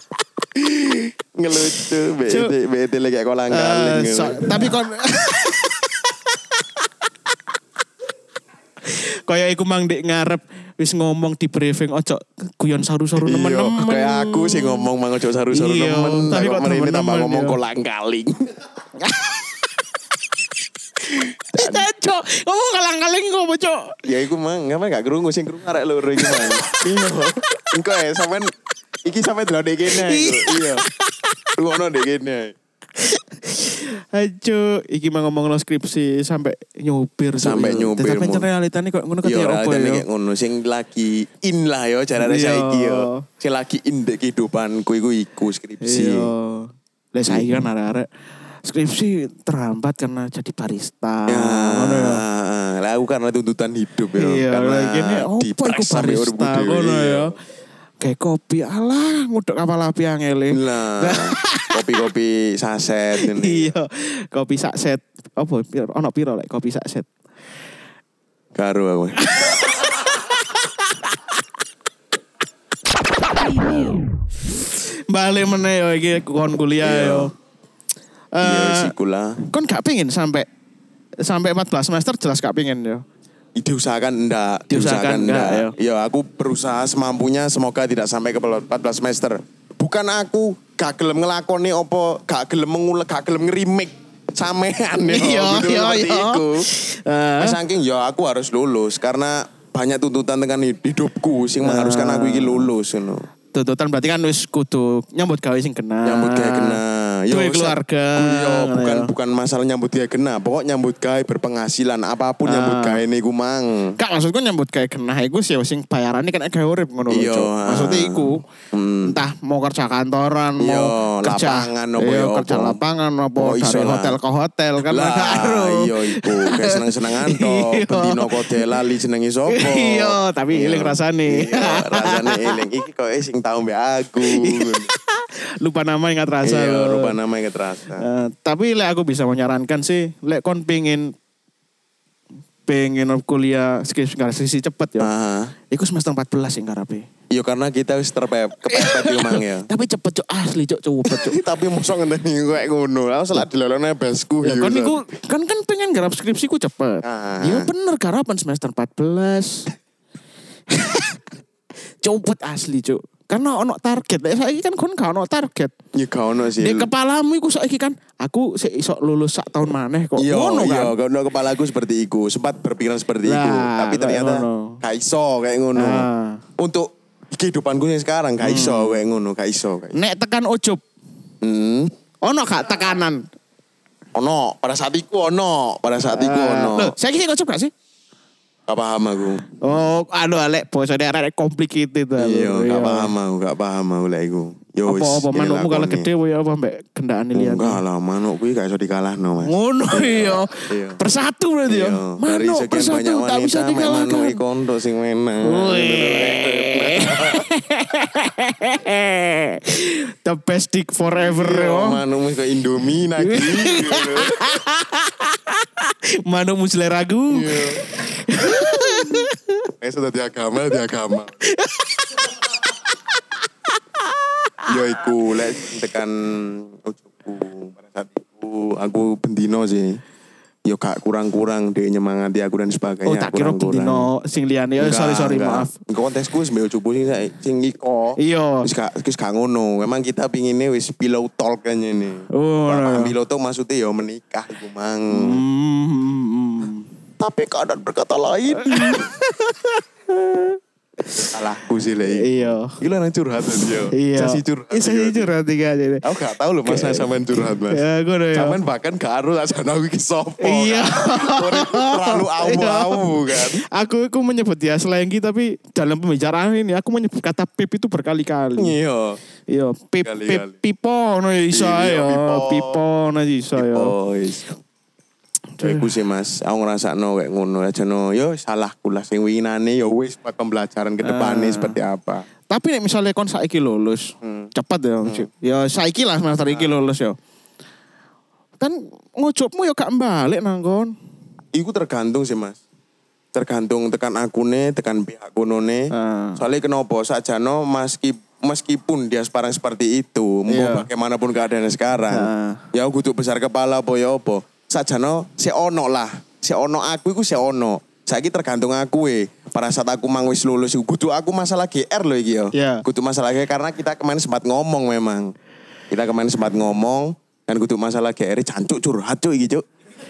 Ngelucu
Cuk.
bete bete lagi aku
Eh,
langgaling.
so- tapi kon Kaya iku mang dek ngarep wis ngomong di briefing ojo guyon saru-saru
Iya,
nemen-nemen.
kayak aku sih ngomong mang ojo saru-saru
Iya,
nemen.
tapi
Tapi
kok
kok ini
nemen-nemen,
tambah
iya.
ngomong kolang kaling.
Tidak, Cok. Eh, Ngomong kalang-kaling ngomong, Cok.
Ya iku mang, ngapain gak kerungu sing kerungu arek loro iki mang. Iya. Engko ya sampean iki sampe delok ndek kene. iku. Iya. Ngono ndek kene.
Ayo, iki mah ngomong skripsi sampai nyupir Cok, Iya.
Sampai
yo.
nyupir,
Tapi
Mon.
realitane kok ngono
Yo
kaya apa
realitane
ya?
Iya, kayak ngono sing lagi in lah yo jarane
Iya.
saiki yo. Sing lagi in ndek kehidupanku iku iku skripsi.
Iya. Lah saya
Iya.
kan arek-arek skripsi terhambat karena jadi barista.
Ya,
Ngono ya.
Lah aku karena tuntutan hidup ya.
Iya,
karena
lagi ini oh, apa iku
dipress sampai uripku
barista
dhewe,
ngono
iya.
ya. Kayak kopi alah nguduk kapal api e. angele.
Lah, kopi-kopi saset ini.
Iya, kopi sakset. Apa piro ono piro lek kopi sakset.
Karo aku.
Balik meneh yo iki kon kuliah
Iya.
yo.
Iya,
Eh,
sikula.
kon gak pengen sampai sampai 14 semester jelas gak pengen yo.
Diusahakan enggak,
Diusahakan enggak,
Ya, aku berusaha semampunya semoga tidak sampai ke 14 semester. Bukan aku gak gelem ngelakoni opo, gak gelem mengulek, gak gelem ngerimik samean ya.
Iya,
Betul
iya,
seperti
iya.
iku.
Eh.
Nah, Saking ya aku harus lulus karena banyak tuntutan dengan hid- hidupku sing mengharuskan aku iki lulus ngono.
tuntutan berarti kan wis kudu nyambut gawe sing kena.
nyambut gawe kena
Ah. Duwe
sa-
keluarga. ya.
yo bukan
Ayo.
bukan masalah nyambut gawe kena pokok nyambut gawe berpenghasilan apapun nyambut
Ah.
gawe niku mang
Kak maksudku nyambut kayak kena iku sih sing bayarane kena gawe urip ngono lho.
Iya,
Cuk.
ah.
Maksudnya iku entah mau kerja kantoran,
Iya,
mau kerja
lapangan apa
iya,
ya,
kerja
apa.
lapangan apa
Oh, iso
dari
lah.
hotel ke hotel kan
lah
mana karo.
iya iku kayak seneng-senengan tok
Iya.
bendino kode lali jenengi sapa
Iya, tapi
Iya.
eling rasane.
Iya, rasane eling iki kok e sing tau mbek aku
Lupa nama ingat rasa.
iya
lho.
rupa nama yang terasa
Eh, tapi lek aku bisa menyarankan sih, lek kon pengen pengen kuliah skripsi skripsi cepet ya.
Ah,
Iku semester 14 sing karepe.
iya karena kita wis terpepet kepepet yo mang ya.
Tapi cepet cok asli cok cepet cok.
Tapi mosok ngenteni kowe ngono. Aku selak dilolone besku.
Ya
yo,
kan
San.
iku kan kan pengen garap skripsiku cepet.
Iya, Ah.
Ya bener garapan semester 14. cepet asli, Cuk. Karena ono target. Lek saiki kan kon gak ono target.
Ya gak ono sih.
Di kepalamu iku saiki kan aku sik iso lulus sak tahun maneh kok.
Iya,
Ngono
iya,
kan.
karena kepala aku seperti iku, sempat berpikiran seperti iku,
Lah, kayak
tapi ternyata
ngono.
gak iso kayak ngono.
Ah.
Untuk kehidupanku yang sekarang gak
Hmm.
iso kayak ngono, gak iso. Kayak.
Nek tekan ujub,
Hmm.
ono gak tekanan.
Ono, pada saat iku ono, pada saat Ah. iku ono.
Ah. Loh, saiki sik ujub gak sih?
Gak paham aku.
Oh,
anu,
aduh Alek, bosone arek complicated to, lho.
Iya, gak paham aku, gak paham aku lah iku. Yo wis. Iya,
Apa-apa
ini
manukmu kalah
lakoni.
gede wae apa mbek gendaan liyan.
Oh, Enggak lah, manuk kuwi gak iso dikalahno, Mas.
Ngono iya.
Iya.
Persatu berarti ya.
dari
Manuk
sekian
persatu
banyak wanita,
tak bisa
mek manuk
dikalahkan.
iku untuk sing menang.
Wih. The best dick forever oh.
Iya,
yo.
manuk wis kok Indomie nagi.
Manuk musle ragu.
Iya, Eh sudah di agama, di agama. ya iku lek tekan ujungku pada saat itu aku bendino sih. Yo gak kurang-kurang dia nyemangati aku dan sebagainya.
Oh tak kira
kurang-kurang.
bendino sing liyane. Oh
Enggak,
sorry sorry
enggak.
maaf.
Engko kontesku wis mbek ujungku sing sae- sing iko.
Iya.
Wis gak wis gak ngono. Memang kita pinginnya wis pillow talk kan ini.
Oh,
Paham
iya.
pillow talk maksudnya ya menikah iku mang.
Hmm.
Tapi keadaan berkata lain. Salahku sih lagi.
Iya.
Gila nang curhat aja.
Iya.
Sasi curhat.
Iya, sasi curhat tiga aja. deh.
Aku gak tau loh mas sampean curhat mas.
Ya, gue udah ya.
Sampean bahkan gak harus asana aku iki sopo. kan.
Iya.
Orang Terlalu awu-awu kan.
Aku aku menyebut dia slangy tapi dalam pembicaraan ini aku menyebut kata pip itu berkali-kali.
Iya.
Iya, pip
Kali-kali.
pip pipo no ya iso
Iya,
ya.
pipo.
Pipo no ya iso ya.
Boys. Kayak aku Oh, sih mas, aku ngerasa no kayak ngono aja no, yo salahku lah sing winane yo wis buat pembelajaran ke
Ah.
depannya seperti apa.
Tapi nek misalnya kon saiki lulus, cepat ya. Cik. Ya saiki lah semester iki lulus ya. Kan ngujupmu ya gak balik nang kon.
Iku tergantung sih mas. Tergantung tekan akune, tekan pihak kunone.
Ah.
Soalnya kenapa sajano meski meskipun dia sekarang seperti itu, mau
Iya.
bagaimanapun keadaannya sekarang,
Ah.
ya aku kudu besar kepala apa ya apa. Sajano si ono lah, si ono aku iku si ono. Saiki tergantung aku e. Pada saat aku mang wis lulus, iku kudu aku masalah GR loh iki yo.
Iya.
Kudu masalah GR karena kita kemarin sempat ngomong memang. Kita kemarin sempat ngomong dan kudu masalah GR cancuk curhat cuk iki cuk.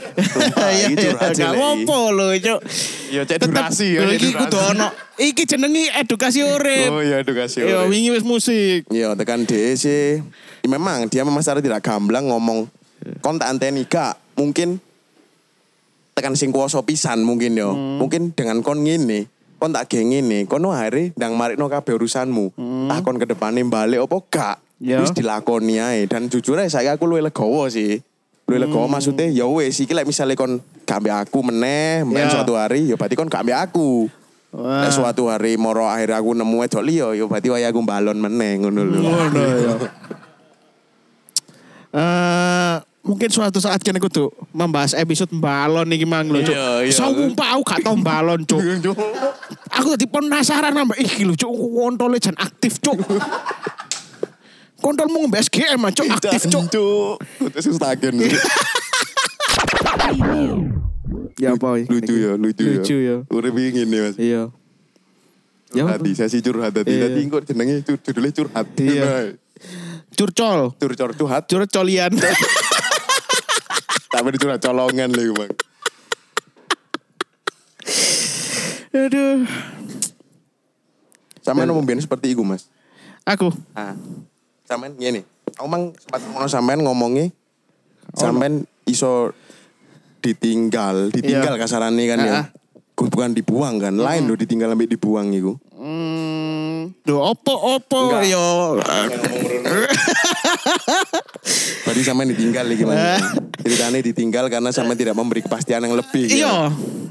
Sumpah,
Iya, iya,
iki curhat
gak
jelek iki.
apa lho, Cuk.
Iya, cek
Tetep,
durasi ya,
lho,
cek
Iki
durasi.
kudu ono. Iki jenengi edukasi
Oh
urip.
iya edukasi.
Yo wingi wis musik.
Iya tekan DC. Ya, memang dia memang secara tidak gamblang ngomong kon tak anteni gak mungkin tekan sing kuasa pisan mungkin yo. Mungkin dengan kon ngene, kon tak geng ngene, kon no hari ndang marikno kabeh urusanmu. Tak kon kedepane balik opo gak?
Iya.
Wis dilakoni ae dan jujur ae saya aku luwih legowo sih. Luwih legowo maksudnya ya wis iki lek misale kon gak ambek aku meneh, men
Iya.
suatu hari ya berarti kon gak ambek aku.
Wah.
Nah, suatu hari moro akhir aku nemu edok liya ya berarti wayahe aku balon meneh ngono lho.
Ngono
iya.
ya. Eh, mungkin suatu saat kene kudu membahas episode balon iki mang lho, Cuk.
Iya, iya.
Sumpah aku gak tau balon, Cuk. Aku tadi penasaran nambah iki lho, Cuk. Kontole jan aktif, Cuk. Kontolmu ngombe SGM, Cuk,
Iya.
aktif, Cuk.
cuk. Terus stagen.
Ya apa?
Lucu ya, lucu ya.
Lucu ya.
Urip iki ngene Mas.
Iya. Ya apa?
Hati sesi curhat tadi.
Iya.
Tadi engko jenenge cur- judulnya curhat.
Iya. Curcol.
Cur cur curhat.
Curcolian.
Tapi curhat colongan lho, Bang.
Aduh.
Sama nomor biyen seperti iku, Mas.
Aku.
Ah. Sampean ngene. Aku mang sempat ngono sampean ngomongi sampean iso ditinggal, ditinggal
Iya.
kasarannya kan ya.
Ah, ah.
Gu- Bukan dibuang kan, lain loh ditinggal sampai dibuang iku.
Hmm, do opo opo Iya.
Enggak. ya.
yo.
Tadi sampean ditinggal lagi mas.
Ah.
Ceritanya ditinggal karena sampean tidak memberi kepastian yang lebih. gitu.
Iya,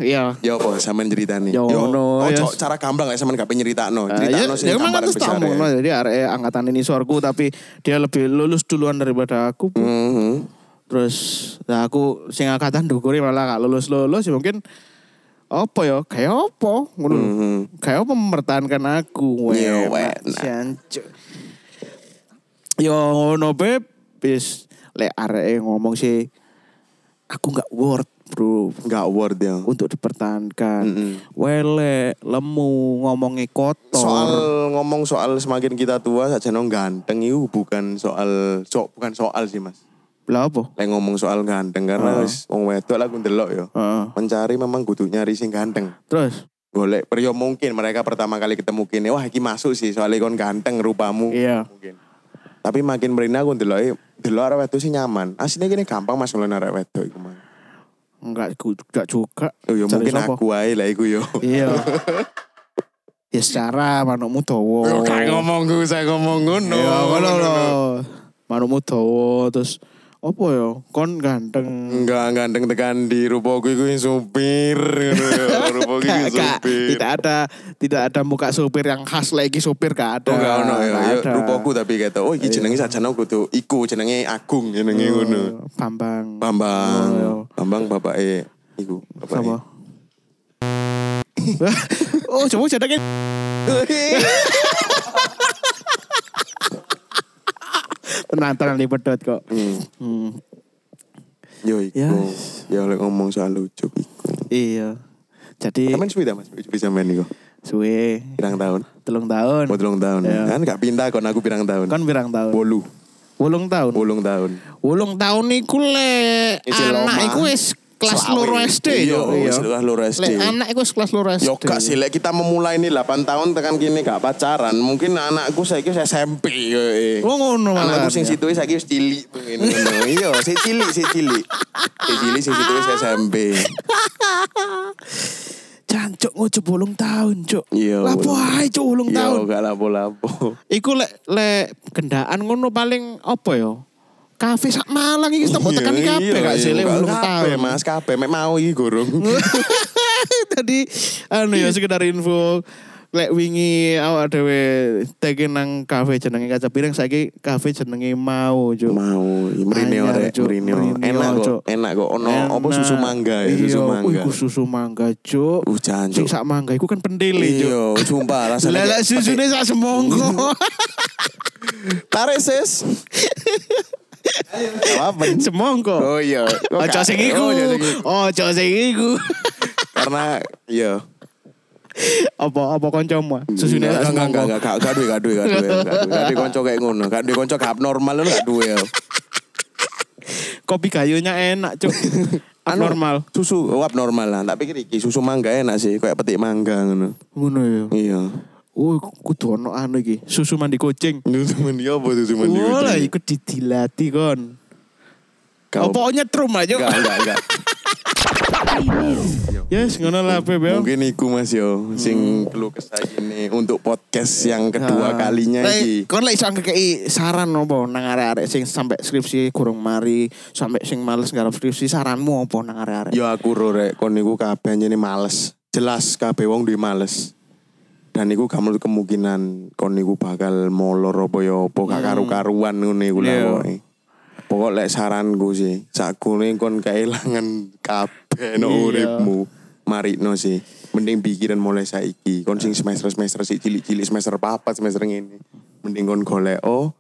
iya.
Ya apa sampean ceritanya?
Ya ono,
oh,
ya.
cok, cara gampang lah sampean gak pengen nyeritakno.
Eh, ya,
Ceritakno sing
ya memang
gambaran
kan terus
besar
tamu
ya.
no, jadi arek angkatan ini suarku tapi dia lebih lulus duluan daripada aku Bu.
Mhm.
terus nah aku sing angkatan dukuri malah gak lulus lulus ya mungkin apa ya kayak apa ngono lho.
Mhm.
kayak apa mempertahankan aku
Hmm. Iya,
Weh,
weh,
mak, jancuk. yo ngono beb bis lek arek e ngomong sih aku nggak worth bro
Gak worth ya.
untuk dipertahankan
Mm-mm.
wele lemu ngomongnya kotor
Soal ngomong soal semakin kita tua saja nong ganteng itu bukan soal so, bukan soal sih mas.
lah apa
Lagi ngomong soal ganteng karena wis wong wedok lah ndelok ya.
Heeh.
Mencari memang kudu nyari sing ganteng.
Terus?
Golek pria mungkin mereka pertama kali ketemu kini wah iki masuk sih soalnya kon ganteng rupamu.
Iya.
Mungkin. Tapi makin merina aku ndelok delok arek wedok sih nyaman. Aslinya gini gampang mas ngelain arek wedok iku mah.
Enggak, gu- enggak juga.
Oh
Cari
ya mungkin
siapa?
aku aja lah iku yo.
Iya. ya secara manukmu dawa.
ngomong gue, saya ngomong ngono.
Iya, ngono lho. Manukmu dawa terus apa ya? Kon ganteng.
Enggak ganteng tekan di rupa gue gue supir. Rupa gue gue
Enggak,
supir.
tidak ada tidak ada muka sopir yang khas lagi sopir gak ada. Iya.
Oh enggak ono ya,
Nggak
ya
ada.
rupaku tapi kata oh iki jenenge sajane kudu iku jenenge Agung jenenge ngono.
Bambang.
Bambang.
Hmm. Oh, iya.
Bambang bapake iku bapake.
Siapa? oh, coba jadinya penantang nih pedot kok. Hmm.
Yo iku.
Ya.
Ya oleh ngomong soal lucu iku.
Iya. Jadi
Sampeyan suwi ta Mas? Suwi sampeyan iku.
suwe
Pirang tahun?
telung tahun.
Oh telung tahun.
Kan- Iya.
Kan gak pindah kon aku pirang tahun.
Kan pirang tahun?
bolu,
Wolung tahun.
bolong tahun.
Wolung tahun niku le
Isi
anak
loma.
iku wis kelas
Selawe.
loro SD
Iya,
yo. Iya.
kelas loro SD.
Lek anak iku kelas loro SD.
Yo gak sih lek kita memulai ini 8 tahun tekan kini gak pacaran, mungkin anakku saiki wis SMP yo. eh.
Oh, ngono malah.
Anakku sing situ saiki wis cilik pengen ngono. Iya, sing cilik, sing cilik. Sing cilik sing situ wis SMP.
Jancuk ngucup bolong tahun, Cuk.
Iya,
Lapo
bolong.
ae Cuk bolong tahun.
Yo Iya, gak lapo-lapo.
Iku lek lek gendaan ngono paling apa yo? Kafe sak Malang iki tak
Iya,
tekani
iya,
kabeh gak
iya,
sih lek
gak
bolong
kabeh,
tahun.
Mas kabeh mek mau iki gorong.
Tadi anu ya sekedar info lek wingi awak dhewe tag nang kafe jenenge kaca piring saiki kafe jenenge mau, Cuk.
Mau iya, mrene
Anyar,
ore
Cuk.
mrene ore.
Mrene,
Enak
Cuk.
kok, enak kok ono apa
Enak.
susu mangga ya, susu
Iya,
mangga.
iku susu mangga, Cuk.
Uh, jancuk.
Sing sak mangga iku kan pendele, Cuk.
Iya, sumpah rasanya.
Lelek
kayak-
susune sak semongko.
Tarik sis. Apa?
semongko.
Oh iya.
Ojo sing iku.
Oh, iya, sing iku.
Ojo sing iku.
Karena iya.
Apa apa kancamu? Susune sak
enggak enggak
semongko.
enggak enggak duwe enggak duwe enggak duwe. enggak duwe. Enggak duwe kanca kayak ngono. Enggak duwe kanca gak abnormal lho enggak duwe. ya.
Kopi gayunya enak, Cuk.
Anu,
Normal.
Susu oh, abnormal lah. Tak pikir iki susu mangga enak sih kayak petik mangga ngono.
Ngono ya.
Iya.
Oh, kudu ono anu iki, susu mandi kucing.
Susu mandi apa susu mandi?
Oh, lah iku didilati kon. Apa nyetrum aja?
Enggak enggak enggak.
Yes, ngono lah PBL.
Mungkin iku Mas yo sing perlu kesah ini untuk podcast yang kedua kalinya
Ah.
iki.
Kon lek iso ngekeki saran opo nang arek-arek sing sampe skripsi kurang mari, sampe sing males garap skripsi saranmu opo nang arek-arek?
Yo aku ro rek kon niku kabeh nyene males. Jelas kabeh wong duwe males. Dan niku gak menurut kemungkinan kon niku bakal molor apa ya apa gak karu-karuan ngono iku
Hmm.
lah
Iya.
pokoke. Pokok lek saranku sih, sakune kon kehilangan kabeh no
Iya.
uripmu. Marikno sih. Mending pikiran mulai saiki. Kon sing semester-semester sik cilik-cilik semester papat semester ngene. Mending kon golek oh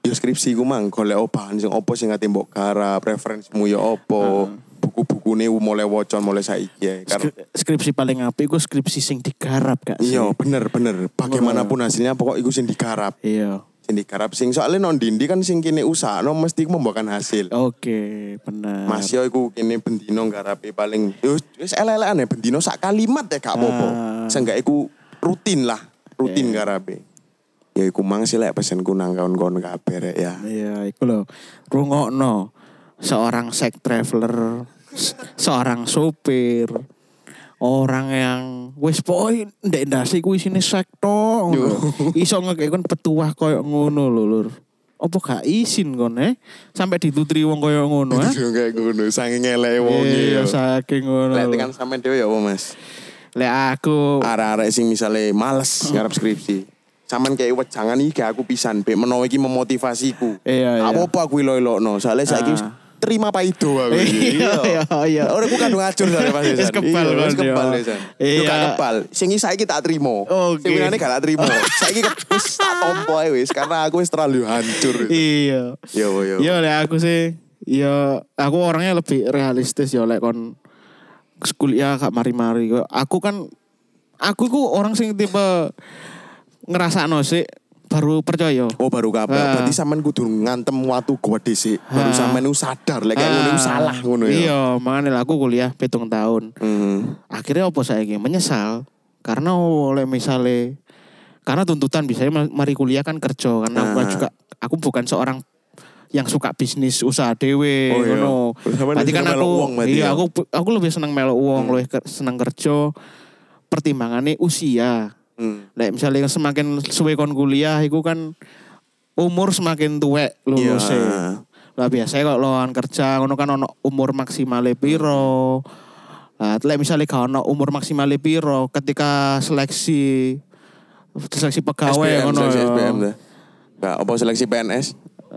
Yo skripsi ku mang golek bahan sing opo sing ngati mbok garap, referensimu yo opo.
Hmm.
Buku-bukune mulai wocon mulai saiki ya. Karena
Skri- skripsi paling apik iku skripsi sing digarap gak sih?
Iya bener bener bagaimanapun hasilnya pokok iku sing digarap
Iya.
sing digarap sing soalnya non dindi kan sing kini usaha no mesti membuahkan hasil
Oke, Oh, bener.
Mas yo iku kene bendino garape paling yo wis elek-elekan ya bendino sak kalimat ya gak apa-apa.
Ah. Iya,
Seenggak iku rutin lah, rutin garape. Ya iku mang sih lek pesenku nang kawan-kawan kabeh rek ya.
Iya, iku lho. Rungokno seorang sex traveler, se- seorang sopir, orang yang wis pokoke ndek ndase ku isine sek tok ngono. Iso ngekek kon petuah koyo ngono lho, Lur. Apa gak isin kon eh? Sampai ditutri wong koyo ngono, ha?
Yo kayak ngono, sange ngelek wong
Iya,
yo.
saking ngono.
Lek
lho.
tekan sampean dhewe ya apa Mas?
Lek aku
Arek-arek sing misale males ngarep skripsi. Saman kayak wejangan iki gak aku pisan, bek menawa iki memotivasiku.
Iya, iya.
Apa aku ilo-ilokno, soalnya saiki wis terima paido aku. iki.
Iya, iya, iya.
Ora aku kandung acur soalnya Mas.
Wis
Wis
kebal,
wis
kan,
kebal
iya.
wis.
Iya.
Yo gak kebal. Sing iki saiki tak trimo.
Oke.
Sing winane gak tak trimo. Saiki ke- wis tak tompo ae wis karena aku wis terlalu hancur.
iya.
Yo yo.
Iya lek aku sih ya aku orangnya lebih realistis ya lek kon kuliah gak mari-mari. Aku kan aku ku orang sing tipe ngerasa sih baru percaya.
Oh baru kabar.
Ah.
Berarti sampean kudu ngantem watu gede sih.
Ah.
Baru sampean iku sadar lek kayak ngono iku salah ngono ya.
Iya, makanya lah aku kuliah pitung tahun.
Hmm.
Akhirnya opo saya menyesal karena oleh misalnya karena tuntutan bisa mari kuliah kan kerja karena aku kan
Ah.
juga aku bukan seorang yang suka bisnis usaha dewe
Oh, iya.
ngono.
Sama
Berarti
lebih
kan aku
seneng melok uang berarti
iya
ya. Hmm.
aku aku lebih seneng melok uang, lebih ke- seneng kerja. Pertimbangannya usia.
Hmm.
Lek misalnya semakin suwe kon kuliah iku kan umur semakin tuwek lulus
Iya.
Lah biasanya kalau lawan kerja ngono kan ono umur maksimal piro. Lah lek misalnya gak ono umur maksimal piro ketika seleksi seleksi
SBM,
pegawai ngono.
seleksi
ya.
SBM dah. Nah, apa seleksi PNS?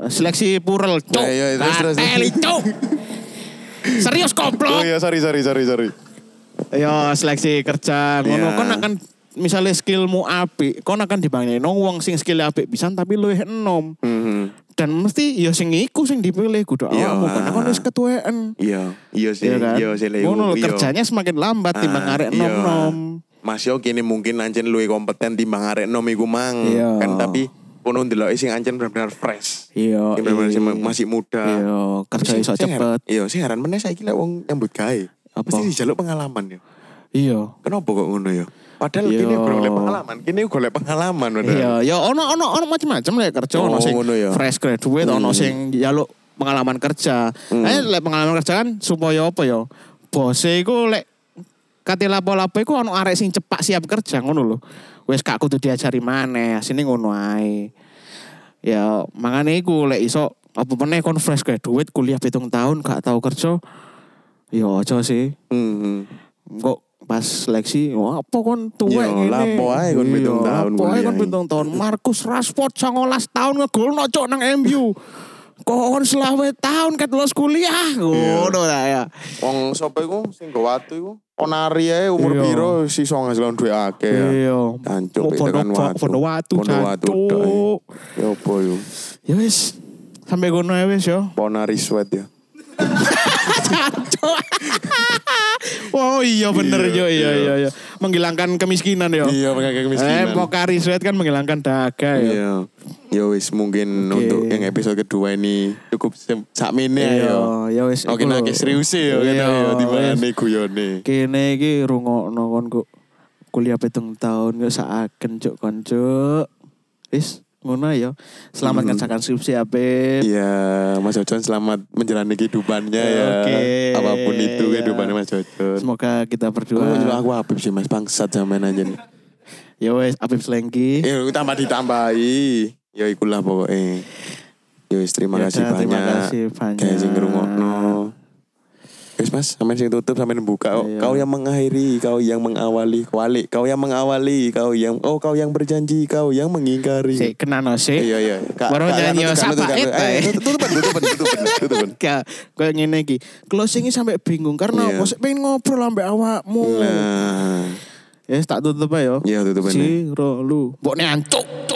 Seleksi purel cuk.
Nah, iya, terus, terus.
Kateli, cuk. Serius
Oh
goblok.
iya, sorry, sorry, sorry, sorry.
Ya seleksi kerja ngono
Iya.
kon akan misalnya skillmu apik, kon akan dibangun wong sing skill apik pisan tapi luwih enom.
Mm-hmm.
Dan mesti ya sing iku sing dipilih kudu
Iya.
awakmu karena kon wis ketuaan.
Iya, iya sih,
Iya kan?
iya sih. Leo.
Ngono lho,
Iya.
kerjanya semakin lambat
Ah,
timbang arek
iya.
nom-nom.
Mas yo kini mungkin anjen luwih kompeten timbang arek nom iku mang.
Iya.
Kan tapi kono ndelok sing ancen benar-benar fresh.
Iya.
Yang benar-benar sing
iya.
masih muda.
Iya, kerja
Terus
iso
sing- sing
cepet.
heran- Iya, sing heran meneh saiki lek wong nyambut gawe.
Apa?
Mesti dijaluk pengalaman ya.
Iya.
Kenapa kok ngono ya? Padahal
Iya.
kini golek pengalaman, kini golek pengalaman padahal.
Iya, ya ono ono ono macam-macam lek kerja ono
Oh,
sing
ngono Hmm. ya.
fresh graduate ono sing jaluk pengalaman kerja.
Hmm.
Eh lek pengalaman kerja kan supaya apa ya? Bose iku lek kate lapo-lapo iku ono arek sing cepak siap kerja ngono lho. Wis gak kudu diajari maneh, asine ngono ae. Ya makane iku lek iso apa meneh kon fresh graduate kuliah pitung tahun gak tau kerja. Ya aja sih.
Hmm.
kok pas seleksi wah apa kon tuwek
Yo, lapo ae kon pitung tahun
Lapo ae kon
kuliah.
pitung tahun. Markus Rashford 19 tahun ngegolno cok nang MU. Kok kon selawe tahun ket lulus kuliah ngono ta ya.
Wong sapa iku sing go watu iku onari ae umur
Iya.
piro sisa ngasilon duit akeh. ya.
Iya. Mau
Jancuk, itu
Pondo
kan watu.
pondo watu
Pondo watu, dok,
jancuk.
Ya apa yo?
Ya wis sampai kono ya wis yo.
Ponari sweat ya.
Jancuk. Oh iya bener yo iya iya iya. Menghilangkan kemiskinan yo.
pengen
Eh, Pokari Sweat kan menghilangkan daga ya.
Iya. Ya wis mungkin
Oke.
untuk yang episode kedua ini cukup sak mene
Iya,
ya.
ya wis.
Oke
iku
nek
lho. Iya,
serius ya kita ya di
wis.
mana guyone.
Kene iki rungokno kon kok kuliah pitung tahun kok saaken cuk kon cuk. Wis ngono ya. Selamat ngerjakan skripsi Apip.
Hmm. Iya, Mas Jojon selamat menjalani kehidupannya ya.
Oke,
Apapun itu
iya.
kehidupannya Mas Jojon.
Semoga kita
Aku nyelok
berdua.
Oh, iya, aku Habib sih Mas bangsat sampean aja nih.
Ya wis Apip Slengki.
Ya tambah ditambahi. Ya ikulah pokoknya. Ya wis terima
Ya
kasih
udah,
banyak.
terima kasih banyak.
Kayak sing ngrungokno. Wis Mas, sampean sing tutup sampean buka. kok.
Iya.
Kau yang mengakhiri, kau yang mengawali, kuali, kau yang mengawali, kau yang oh kau yang berjanji, kau yang mengingkari.
Sik kenano sik.
Iya iya.
Baru nyanyi sapa eta.
Tutup tutup tutup tutup.
Kayak kayak ngene iki. Closingnya sampai bingung karena
Iya.
aku sik pengen ngobrol ambek awakmu.
Nah,
Ya wis, tak tutup ae yo.
Iya, tutup ae.
Si ro lu. Mbok ne ancuk.